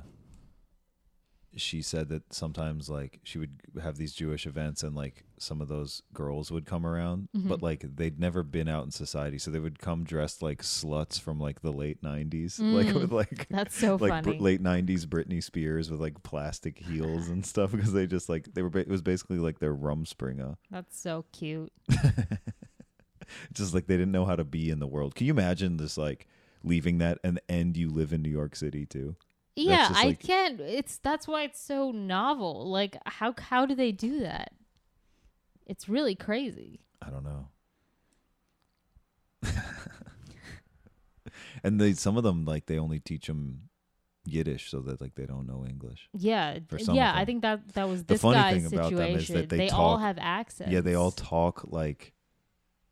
Speaker 6: she said that sometimes like she would have these Jewish events and like some of those girls would come around
Speaker 5: Mm-hmm.
Speaker 6: but like they'd never been out in society so they would come dressed like sluts from like the late 90s like with like
Speaker 5: Mm, That's so
Speaker 6: like
Speaker 5: funny.
Speaker 6: late 90s Britney Spears with like plastic heels and stuff because they just like they were ba- it was basically like their Rumspringa
Speaker 5: That's so cute.
Speaker 6: just like they didn't know how to be in the world. Can you imagine this like leaving that and and you live in New York City too?
Speaker 5: Yeah,
Speaker 6: just
Speaker 5: I
Speaker 6: like-
Speaker 5: can't. It's that's why it's so novel. Like how how do they do that? It's really crazy.
Speaker 6: I don't know. and they some of them like they only teach them Yiddish so that like they don't know English.
Speaker 5: Yeah,
Speaker 6: For some of
Speaker 5: yeah. I
Speaker 6: them.
Speaker 5: think that that was
Speaker 6: The
Speaker 5: this
Speaker 6: funny
Speaker 5: guy's
Speaker 6: thing about them
Speaker 5: situation.
Speaker 6: is that they
Speaker 5: all
Speaker 6: talk-
Speaker 5: have accents.
Speaker 6: Yeah, they all talk like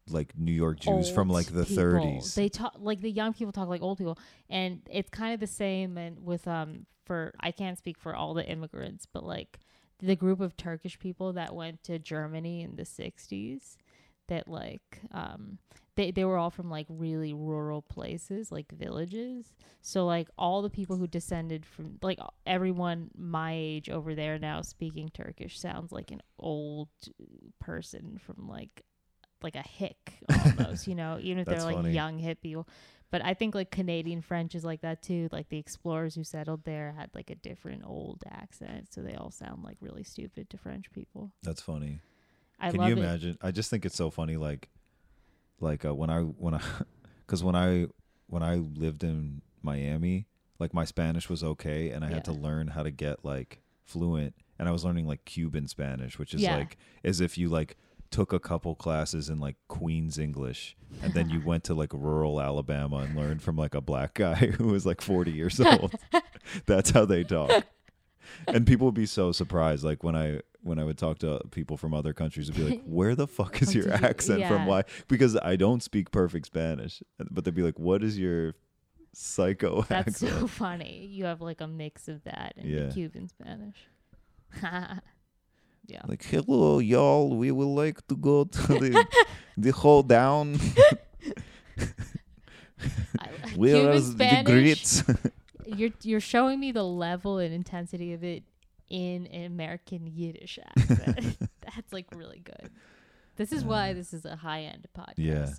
Speaker 6: like New York Jews from
Speaker 5: old
Speaker 6: like the
Speaker 5: people.
Speaker 6: 30s.
Speaker 5: They talk like the young people talk like old people, and it's kind of the same. And with um, for I can't speak for all the immigrants, but like the group of Turkish people that went to Germany in the '60s, that like um, they they were all from like really rural places, like villages. So like all the people who descended from like everyone my age over there now speaking Turkish sounds like an old person from like like a hick almost, you know, even if they're
Speaker 6: That's
Speaker 5: like
Speaker 6: funny.
Speaker 5: young hip people. But I think like Canadian French is like that too. Like the explorers who settled there had like a different old accent, so they all sound like really stupid to French people.
Speaker 6: That's funny.
Speaker 5: I
Speaker 6: Can
Speaker 5: love
Speaker 6: you
Speaker 5: it.
Speaker 6: imagine? I just think it's so funny. Like, like uh, when I when I, because when I when I lived in Miami, like my Spanish was okay, and I had to
Speaker 5: Yeah.
Speaker 6: learn how to get like fluent, and I was learning like Cuban Spanish, which is
Speaker 5: Yeah.
Speaker 6: like as if you like took a couple classes in like Queens English and then you went to like rural Alabama and learned from like a black guy who was like 40 years old. That's how they talk. And people would be so surprised like when I when I would talk to people from other countries would be like, "Where the fuck is
Speaker 5: Where
Speaker 6: your
Speaker 5: Oh, did you-
Speaker 6: accent from?
Speaker 5: yeah.
Speaker 6: Why?" Because I don't speak perfect Spanish. But they'd be like, "What is your psycho
Speaker 5: That's
Speaker 6: accent?"
Speaker 5: so funny. You have like a mix of that and
Speaker 6: Yeah.
Speaker 5: the Cuban Spanish. yeah.
Speaker 6: Like, hello, y'all. We would like to go to the the hole down.
Speaker 5: I,
Speaker 6: Where
Speaker 5: Cuban
Speaker 6: are the
Speaker 5: Spanish,
Speaker 6: grits?
Speaker 5: You're you're showing me the level and intensity of it in an American Yiddish accent. That's like really good. This is why this is a high end podcast.
Speaker 6: Yeah.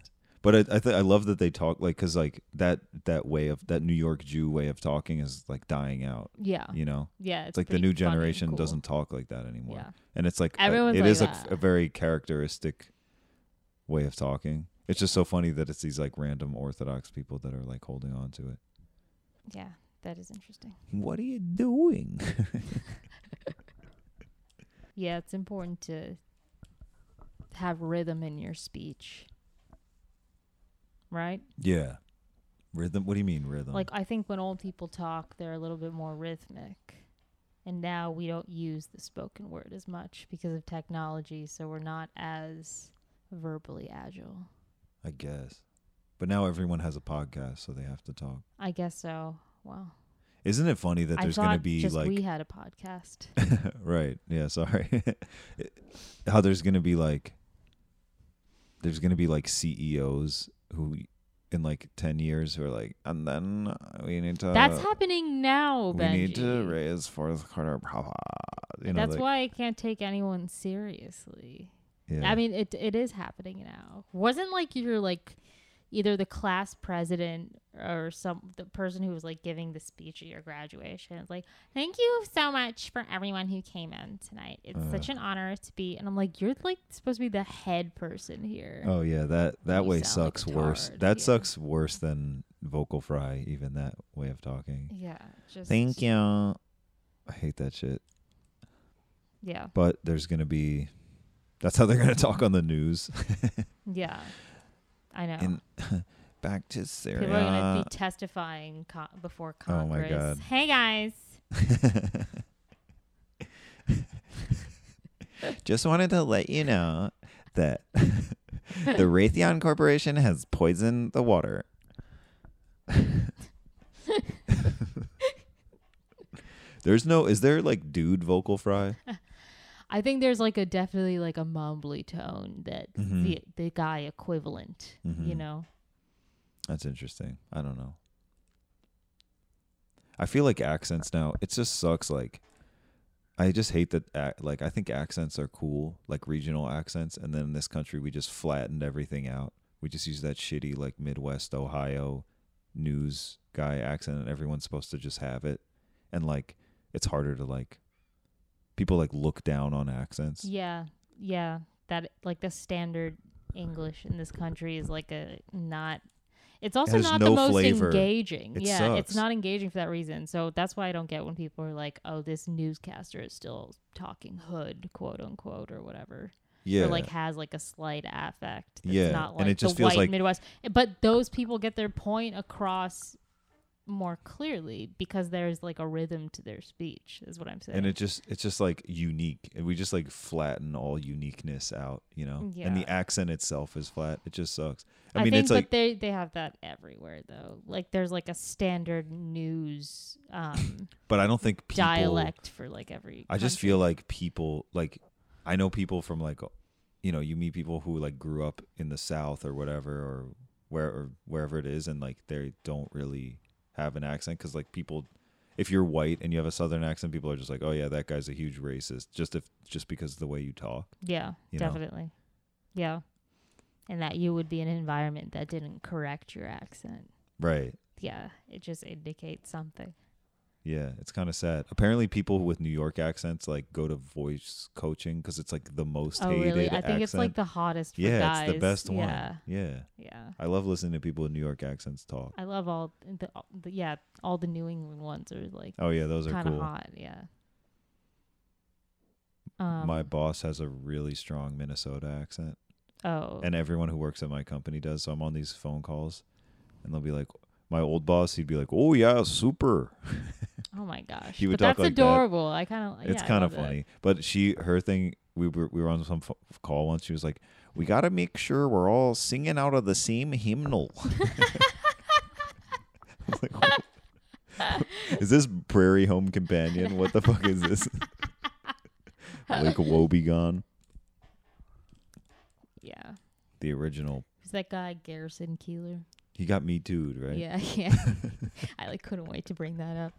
Speaker 6: But I I, th- I love that they talk like because like that that way of that New York Jew way of talking is like dying out.
Speaker 5: Yeah.
Speaker 6: You know,
Speaker 5: Yeah.
Speaker 6: it's like the
Speaker 5: Oh, pretty
Speaker 6: new
Speaker 5: fucking
Speaker 6: generation
Speaker 5: cool.
Speaker 6: doesn't talk like that anymore.
Speaker 5: Yeah.
Speaker 6: And it's like a-
Speaker 5: Everyone's
Speaker 6: it
Speaker 5: like
Speaker 6: is a,
Speaker 5: that.
Speaker 6: a very characteristic way of talking. It's just so funny that it's these like random Orthodox people that are like holding on to it.
Speaker 5: Yeah. That is interesting.
Speaker 6: What are you doing?
Speaker 5: Yeah, it's important to have rhythm in your speech. Right?
Speaker 6: yeah, rhythm. What do you mean rhythm?
Speaker 5: Like I think when old people talk, they're a little bit more rhythmic. And now we don't use the spoken word as much because of technology, so we're not as verbally agile.
Speaker 6: I guess. But now everyone has a podcast, so they have to talk.
Speaker 5: I guess so. Well,
Speaker 6: Isn't it funny that
Speaker 5: I
Speaker 6: there's
Speaker 5: thought
Speaker 6: going to be
Speaker 5: just
Speaker 6: like Uh,
Speaker 5: we had a podcast.
Speaker 6: right? Yeah, sorry. How there's going to be like there's going to be like CEOs who in like 10 years who are like and then we need to
Speaker 5: That's happening now,
Speaker 6: we
Speaker 5: Benji.
Speaker 6: need to raise fourth quarter profit. You know,
Speaker 5: That's
Speaker 6: like-
Speaker 5: why I can't take anyone seriously.
Speaker 6: Yeah.
Speaker 5: I mean, it it is happening now. Wasn't like you're like either the class president or some the person who was like giving the speech at your graduation. It's like, thank you so much for everyone who came in tonight. It's
Speaker 6: Uh.
Speaker 5: such an honor to be. And I'm like, you're like supposed to be the head person here.
Speaker 6: Oh yeah, that that
Speaker 5: You
Speaker 6: way
Speaker 5: sound like
Speaker 6: sucks
Speaker 5: a
Speaker 6: worse.
Speaker 5: tard,
Speaker 6: That
Speaker 5: yeah.
Speaker 6: sucks worse than vocal fry. Even that way of talking.
Speaker 5: Yeah. Just
Speaker 6: you. I hate that shit.
Speaker 5: Yeah.
Speaker 6: But there's gonna be. That's how they're gonna talk on the news.
Speaker 5: Yeah. I know.
Speaker 6: And back to
Speaker 5: People are going
Speaker 6: Syria.
Speaker 5: to be testifying co- before
Speaker 6: Uh. Oh my
Speaker 5: Congress.
Speaker 6: God.
Speaker 5: Hey guys.
Speaker 6: Just wanted to let you know that the Raytheon Corporation has poisoned the water. There's no. Is there like dude vocal fry?
Speaker 5: I think there's like a definitely like a mumbly tone that
Speaker 6: Mhm.
Speaker 5: the the guy equivalent, you
Speaker 6: Mhm.
Speaker 5: know.
Speaker 6: That's interesting. I don't know. I feel like accents now. It just sucks. Like, I just hate that. ac- Like, I think accents are cool, like regional accents. And then in this country, we just flattened everything out. We just use that shitty, like Midwest Ohio news guy accent, and everyone's supposed to just have it. And like, it's harder to like. People like look down on accents.
Speaker 5: Yeah. Yeah. That like the standard English in this country is like a not it's also
Speaker 6: has
Speaker 5: not
Speaker 6: no
Speaker 5: the most
Speaker 6: flavor.
Speaker 5: engaging.
Speaker 6: It
Speaker 5: yeah,
Speaker 6: sucks.
Speaker 5: it's not engaging for that reason. So that's why I don't get when people are like, "Oh, this newscaster is still talking hood, quote unquote, or whatever."
Speaker 6: Yeah.
Speaker 5: or like has like a slight affect. That's
Speaker 6: Yeah,
Speaker 5: not
Speaker 6: and
Speaker 5: like
Speaker 6: it just
Speaker 5: the
Speaker 6: feels
Speaker 5: white
Speaker 6: like-
Speaker 5: Midwest. But those people get their point across more clearly because there's like a rhythm to their speech. Is what I'm saying.
Speaker 6: and it just it's just like unique and we just like flatten all uniqueness out you know and
Speaker 5: Yeah.
Speaker 6: the accent itself is flat it just sucks i, mean
Speaker 5: think,
Speaker 6: it's like
Speaker 5: but they they have that everywhere though. Like there's like a standard news um,
Speaker 6: but i don't think people
Speaker 5: dialect for like every.
Speaker 6: i just
Speaker 5: country.
Speaker 6: feel like people like i know people from like you know you meet people who like grew up in the south or whatever or where or wherever it is and like they don't really have an accent because like people if you're white and you have a southern accent people are just like oh yeah that guy's a huge racist just if just because of the way you talk
Speaker 5: yeah,
Speaker 6: you know.
Speaker 5: definitely, yeah, and that you would be in an environment that didn't correct your accent.
Speaker 6: right
Speaker 5: Yeah, it just indicates something.
Speaker 6: Yeah, it's kind of sad. Apparently, people with New York accents like go to voice coaching because it's like the most
Speaker 5: Oh,
Speaker 6: hated
Speaker 5: really? I think
Speaker 6: accent.
Speaker 5: it's like the hottest for
Speaker 6: yeah,
Speaker 5: guys.
Speaker 6: it's the best one.
Speaker 5: Yeah,
Speaker 6: yeah,
Speaker 5: yeah.
Speaker 6: I love listening to people with New York accents talk.
Speaker 5: I love all the, all the yeah, all the New England ones are like
Speaker 6: Oh yeah, those are
Speaker 5: kind of
Speaker 6: cool.
Speaker 5: hot. Yeah. Um,
Speaker 6: my boss has a really strong Minnesota accent,
Speaker 5: oh
Speaker 6: and everyone who works at my company does. So I'm on these phone calls, and they'll be like, my old boss, he'd be like, "Oh yeah, super."
Speaker 5: oh my gosh,
Speaker 6: he would
Speaker 5: but
Speaker 6: talk
Speaker 5: that's
Speaker 6: like that.
Speaker 5: adorable. Uh, I kind of
Speaker 6: it's kind of funny. But she, her thing, we were we were on some pho- call once. She was like, "We got to make sure we're all singing out of the same hymnal." I was like, "What?" is this Prairie Home Companion? What the fuck is this? Lake Wobegon,
Speaker 5: Yeah,
Speaker 6: the original.
Speaker 5: who's that guy Garrison Keeler?
Speaker 6: He got me dude, right?
Speaker 5: Yeah, yeah. I like couldn't wait to bring that up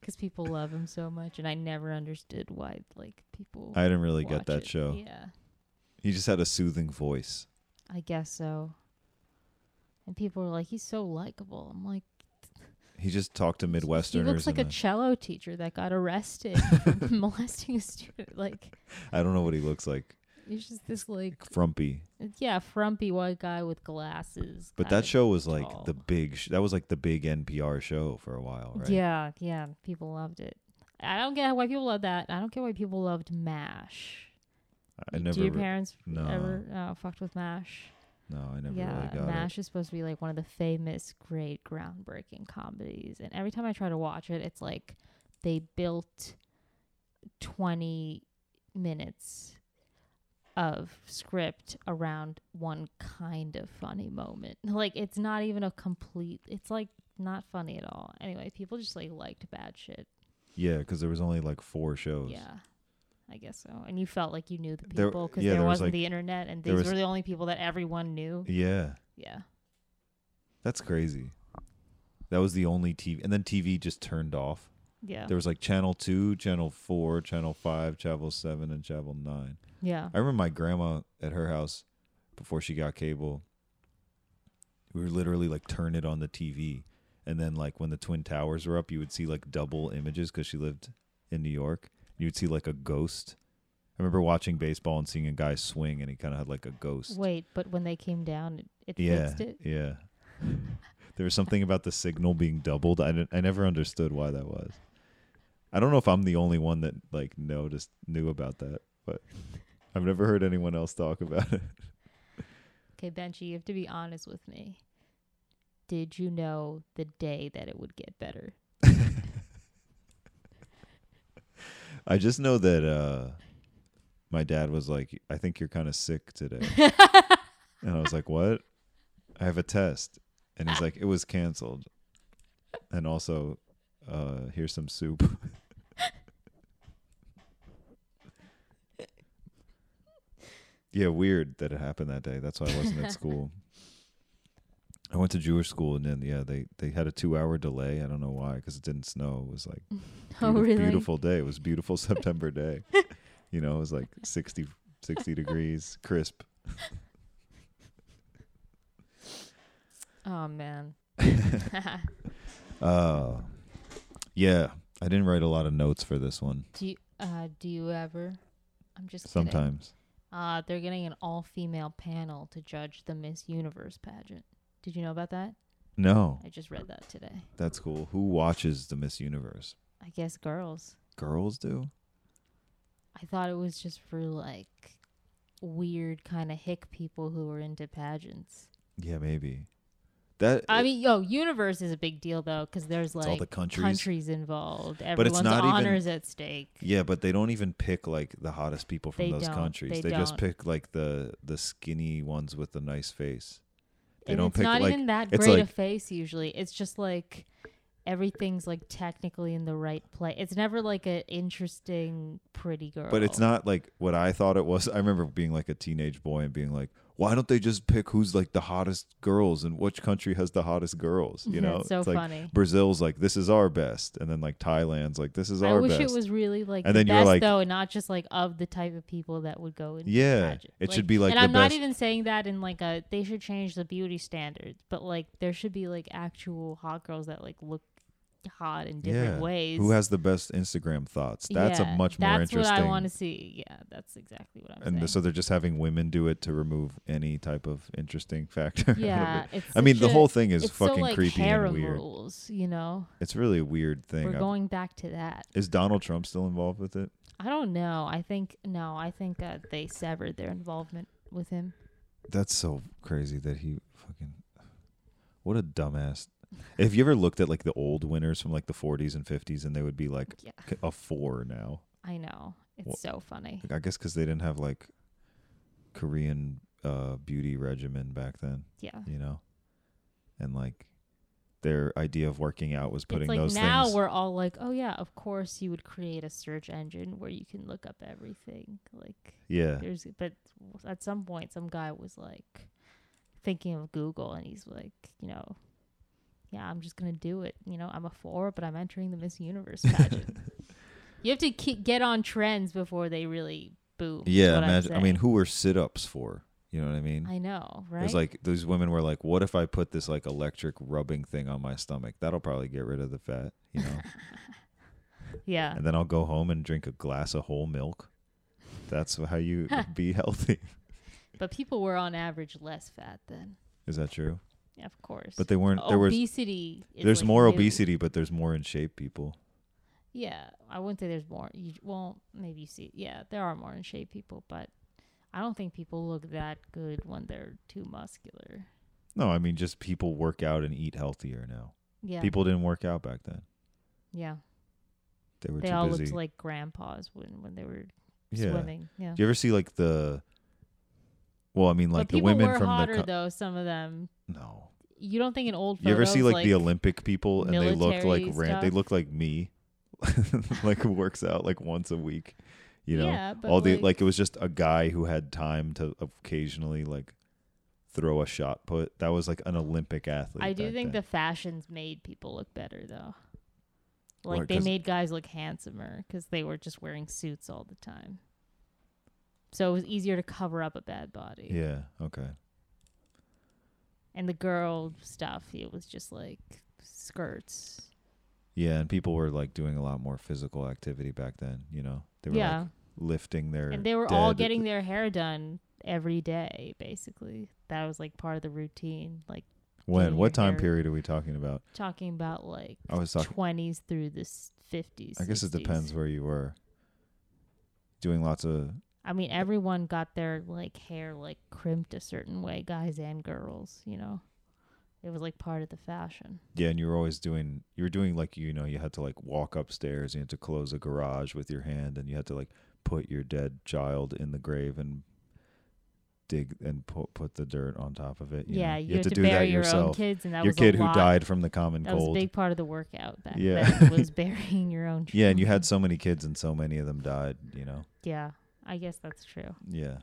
Speaker 5: because people love him so much, and I never understood why like people.
Speaker 6: I didn't really
Speaker 5: watch
Speaker 6: get that
Speaker 5: it.
Speaker 6: show.
Speaker 5: Yeah.
Speaker 6: He just had a soothing voice.
Speaker 5: I guess so. And people were like, he's so likable. I'm like,
Speaker 6: He just talked to Midwesterners.
Speaker 5: he looks like a
Speaker 6: in
Speaker 5: cello teacher that got arrested for molesting a student. Like,
Speaker 6: a, I don't know what he looks like.
Speaker 5: he's just this, like,
Speaker 6: Frumpy.
Speaker 5: yeah, frumpy white guy with glasses.
Speaker 6: But
Speaker 5: kinda
Speaker 6: that show was like the
Speaker 5: tall.
Speaker 6: big. Sh- that was like the big NPR show for a while, right?
Speaker 5: Yeah, yeah. People loved it. I don't get why people loved that. I don't get why people loved MASH.
Speaker 6: I
Speaker 5: Y-
Speaker 6: never.
Speaker 5: Do your
Speaker 6: re-
Speaker 5: parents
Speaker 6: no.
Speaker 5: ever uh, fucked with MASH?
Speaker 6: no, I never
Speaker 5: yeah,
Speaker 6: really got
Speaker 5: MASH is supposed to be like one of the famous, great, groundbreaking comedies. And every time I try to watch it, it's like they built 20 minutes of script around one kind of funny moment. Like it's not even a complete, it's like not funny at all. Anyway, people just like liked bad shit.
Speaker 6: Yeah, because there was only like four shows.
Speaker 5: Yeah, I guess so. And you felt like you knew the
Speaker 6: There-
Speaker 5: people because
Speaker 6: yeah,
Speaker 5: there,
Speaker 6: there was,
Speaker 5: wasn't
Speaker 6: like-
Speaker 5: the internet, and
Speaker 6: there
Speaker 5: these
Speaker 6: was-
Speaker 5: were the only people that everyone knew.
Speaker 6: Yeah,
Speaker 5: Yeah,
Speaker 6: that's crazy. That was the only TV, and then TV just turned off.
Speaker 5: yeah,
Speaker 6: There was like Channel Two, Channel Four, Channel Five, Channel Seven, and Channel Nine.
Speaker 5: yeah.
Speaker 6: I remember my grandma at her house before she got cable. We were literally like turn it on the TV, and then like when the twin towers were up, you would see like double images because she lived in New York. You would see like a ghost. I remember watching baseball and seeing a guy swing, and he kind of had like a ghost.
Speaker 5: Wait, but when they came down, it, it
Speaker 6: yeah,
Speaker 5: fixed it.
Speaker 6: yeah. there was something about the signal being doubled. I didn't, I never understood why that was. I don't know if I'm the only one that like noticed knew about that, but I've never heard anyone else talk about it.
Speaker 5: Okay, Benchy, you have to be honest with me. Did you know the day that it would get better?
Speaker 6: I just know that uh my dad was like, "I think you're kind of sick today," and I was like, "What?" I have a test, and he's like, "It was canceled," and also, uh, here's some soup. yeah, weird that it happened that day. That's why I wasn't at school. I went to Jewish school, and then yeah, they they had a two hour delay. I don't know why, because it didn't snow. It was like
Speaker 5: oh,
Speaker 6: beauti-
Speaker 5: really?
Speaker 6: beautiful day. It was a beautiful September day. you know, it was like 60, 60 degrees, crisp.
Speaker 5: Oh man.
Speaker 6: Uh, yeah, I didn't write a lot of notes for this one.
Speaker 5: do you, uh, do you ever? I'm just kidding.
Speaker 6: Sometimes.
Speaker 5: Uh, they're getting an all-female panel to judge the Miss Universe pageant. Did you know about that?
Speaker 6: No,
Speaker 5: I just read that today.
Speaker 6: that's cool. Who watches the Miss Universe?
Speaker 5: I guess girls.
Speaker 6: Girls do?
Speaker 5: I thought it was just for like weird kind of hick people who were into pageants.
Speaker 6: Yeah, maybe. That
Speaker 5: I mean, yo, universe is a big deal though, because there's like
Speaker 6: all the countries.
Speaker 5: involved. Everyone's
Speaker 6: not even-
Speaker 5: honors at stake.
Speaker 6: Yeah, but they don't even pick like the hottest people from
Speaker 5: They
Speaker 6: those
Speaker 5: don't.
Speaker 6: countries. They,
Speaker 5: They
Speaker 6: just
Speaker 5: don't.
Speaker 6: pick like the the skinny ones with the nice face. They
Speaker 5: and
Speaker 6: don't
Speaker 5: it's
Speaker 6: pick
Speaker 5: not
Speaker 6: like
Speaker 5: even that
Speaker 6: it's
Speaker 5: great a
Speaker 6: like-
Speaker 5: face usually. It's just like everything's like technically in the right place. It's never like an interesting pretty girl.
Speaker 6: But it's not like what I thought it was. I remember being like a teenage boy and being like, why don't they just pick who's like the hottest girls and which country has the hottest girls? You know,
Speaker 5: That's so
Speaker 6: it's like
Speaker 5: funny.
Speaker 6: Brazil's like this is our best, and then like Thailand's like this is
Speaker 5: I
Speaker 6: our
Speaker 5: wish
Speaker 6: best.
Speaker 5: it was really like
Speaker 6: And
Speaker 5: the
Speaker 6: then you're
Speaker 5: best
Speaker 6: like-
Speaker 5: though, and not just like of the type of people that would go into
Speaker 6: Yeah,
Speaker 5: pageant.
Speaker 6: it should be, like,
Speaker 5: And
Speaker 6: the
Speaker 5: I'm not
Speaker 6: best-
Speaker 5: even saying that in like a they should change the beauty standards, but like there should be like actual hot girls that like look hot in different
Speaker 6: yeah.
Speaker 5: ways.
Speaker 6: Who has the best Instagram thoughts? That's
Speaker 5: Yeah,
Speaker 6: a much more
Speaker 5: that's
Speaker 6: interesting.
Speaker 5: what I want to see. Yeah, that's exactly what I'm
Speaker 6: and
Speaker 5: saying.
Speaker 6: so they're just having women do it to remove any type of interesting factor. out of
Speaker 5: yeah,
Speaker 6: it.
Speaker 5: it's
Speaker 6: I mean,
Speaker 5: such
Speaker 6: the
Speaker 5: a-
Speaker 6: whole thing is
Speaker 5: it's
Speaker 6: fucking
Speaker 5: so, like,
Speaker 6: creepy
Speaker 5: harem
Speaker 6: and weird.
Speaker 5: Rules, you know,
Speaker 6: It's really a weird thing.
Speaker 5: we're
Speaker 6: I've-
Speaker 5: going back to that.
Speaker 6: is Donald Trump still involved with it?
Speaker 5: I don't know. I think no. I think uh, they severed their involvement with him.
Speaker 6: That's so crazy that he fucking what a dumbass. Have you ever looked at like the old winners from like the 40s and 50s and they would be like
Speaker 5: Yeah.
Speaker 6: c- a 4 now?
Speaker 5: I know. It's so
Speaker 6: Well-
Speaker 5: funny.
Speaker 6: Like, I guess cuz they didn't have like Korean uh beauty regimen back then,
Speaker 5: Yeah.
Speaker 6: you know. And like their idea of working out was putting
Speaker 5: it's like
Speaker 6: those
Speaker 5: now
Speaker 6: things
Speaker 5: we're all like, oh yeah, of course you would create a search engine where you can look up everything. Like
Speaker 6: Yeah.
Speaker 5: there's, but at some point, some guy was like thinking of Google, and he's like, you know, yeah, I'm just gonna do it. You know, I'm a four, but I'm entering the Miss Universe pageant. you have to ke- get on trends before they really boom. is
Speaker 6: Yeah,
Speaker 5: what I'm
Speaker 6: imagine I mean
Speaker 5: saying.
Speaker 6: who were sit-ups for? You know what I mean?
Speaker 5: I know, right?
Speaker 6: It was like those women were like, "What if I put this like electric rubbing thing on my stomach? That'll probably get rid of the fat, you know."
Speaker 5: yeah,
Speaker 6: and then I'll go home and drink a glass of whole milk. That's how you be healthy.
Speaker 5: but people were on average less fat then.
Speaker 6: Is that true?
Speaker 5: Yeah, of course.
Speaker 6: But they weren't. there was.
Speaker 5: obesity. is,
Speaker 6: There's
Speaker 5: like,
Speaker 6: more
Speaker 5: new.
Speaker 6: obesity, but there's more in shape people.
Speaker 5: Yeah, I wouldn't say there's more. You well, maybe you see. Yeah, there are more in shape people, but I don't think people look that good when they're too muscular.
Speaker 6: No, I mean just people work out and eat healthier now.
Speaker 5: Yeah,
Speaker 6: People didn't work out back then.
Speaker 5: yeah,
Speaker 6: They were
Speaker 5: they
Speaker 6: too
Speaker 5: all
Speaker 6: busy.
Speaker 5: looked like grandpas when when they were
Speaker 6: yeah.
Speaker 5: swimming. Yeah,
Speaker 6: Do you ever see like the? Well, I mean, like
Speaker 5: but
Speaker 6: the
Speaker 5: people
Speaker 6: women
Speaker 5: were
Speaker 6: from
Speaker 5: hotter
Speaker 6: the co-
Speaker 5: though. Some of them,
Speaker 6: no.
Speaker 5: you don't think an old
Speaker 6: You ever see
Speaker 5: photos,
Speaker 6: like, the Olympic people and they look like
Speaker 5: military
Speaker 6: ran- they
Speaker 5: stuff?
Speaker 6: look like me, like works out like once a week, you know.
Speaker 5: Yeah, but
Speaker 6: All the
Speaker 5: like-
Speaker 6: like it was just a guy who had time to occasionally like throw a shot put. That was like an Olympic athlete.
Speaker 5: I do
Speaker 6: back
Speaker 5: think
Speaker 6: then.
Speaker 5: the fashions made people look better though. Like
Speaker 6: Right,
Speaker 5: they
Speaker 6: 'cause-
Speaker 5: made guys look handsomer because they were just wearing suits all the time. So it was easier to cover up a bad body.
Speaker 6: yeah okay
Speaker 5: And the girl stuff, it was just like skirts.
Speaker 6: yeah and people were like doing a lot more physical activity back then. You know they were
Speaker 5: Yeah.
Speaker 6: like lifting their
Speaker 5: and they were all
Speaker 6: dead-
Speaker 5: getting their hair done every day, basically. That was like part of the routine. Like
Speaker 6: when
Speaker 5: getting
Speaker 6: what
Speaker 5: their
Speaker 6: time
Speaker 5: hair-
Speaker 6: period are we talking about?
Speaker 5: talking about like
Speaker 6: I was talking.
Speaker 5: twenties through the fifties.
Speaker 6: I guess it depends where you were. Doing lots of
Speaker 5: I mean, everyone got their like hair like crimped a certain way, guys and girls. You know, it was like part of the fashion.
Speaker 6: Yeah, and you were always doing you were doing like you know, you had to like walk upstairs, you had to close a garage with your hand and you had to like put your dead child in the grave and dig and put put the dirt on top of it. you
Speaker 5: yeah,
Speaker 6: know.
Speaker 5: you, had to, bury your own kids, and that
Speaker 6: your
Speaker 5: was
Speaker 6: kid
Speaker 5: a
Speaker 6: who
Speaker 5: lot.
Speaker 6: died from the common
Speaker 5: That was a
Speaker 6: cold.
Speaker 5: big part of the workout back
Speaker 6: Yeah.
Speaker 5: then. Was burying your own.
Speaker 6: Yeah, and you
Speaker 5: children.
Speaker 6: had so many kids and so many of them died, you know.
Speaker 5: Yeah, I guess that's true.
Speaker 6: Yeah.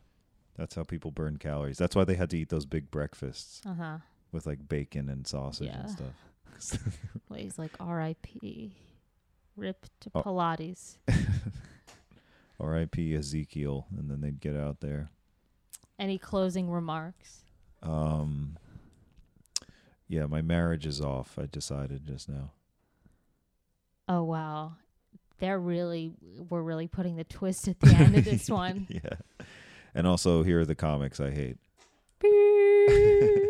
Speaker 6: That's how people burn calories. That's why they had to eat those big breakfasts
Speaker 5: Uh huh.
Speaker 6: with like bacon and sausage
Speaker 5: Yeah.
Speaker 6: and stuff. 'Cause
Speaker 5: Well, he's like R.I.P. Rip to
Speaker 6: Oh.
Speaker 5: Pilates.
Speaker 6: R.I.P. Ezekiel, and then they'd get out there.
Speaker 5: Any closing remarks?
Speaker 6: Um, yeah, my marriage is off. I decided just now.
Speaker 5: Oh wow, they're really we're really putting the twist at the end of this one.
Speaker 6: Yeah, and also here are the comics I hate.
Speaker 5: Beep.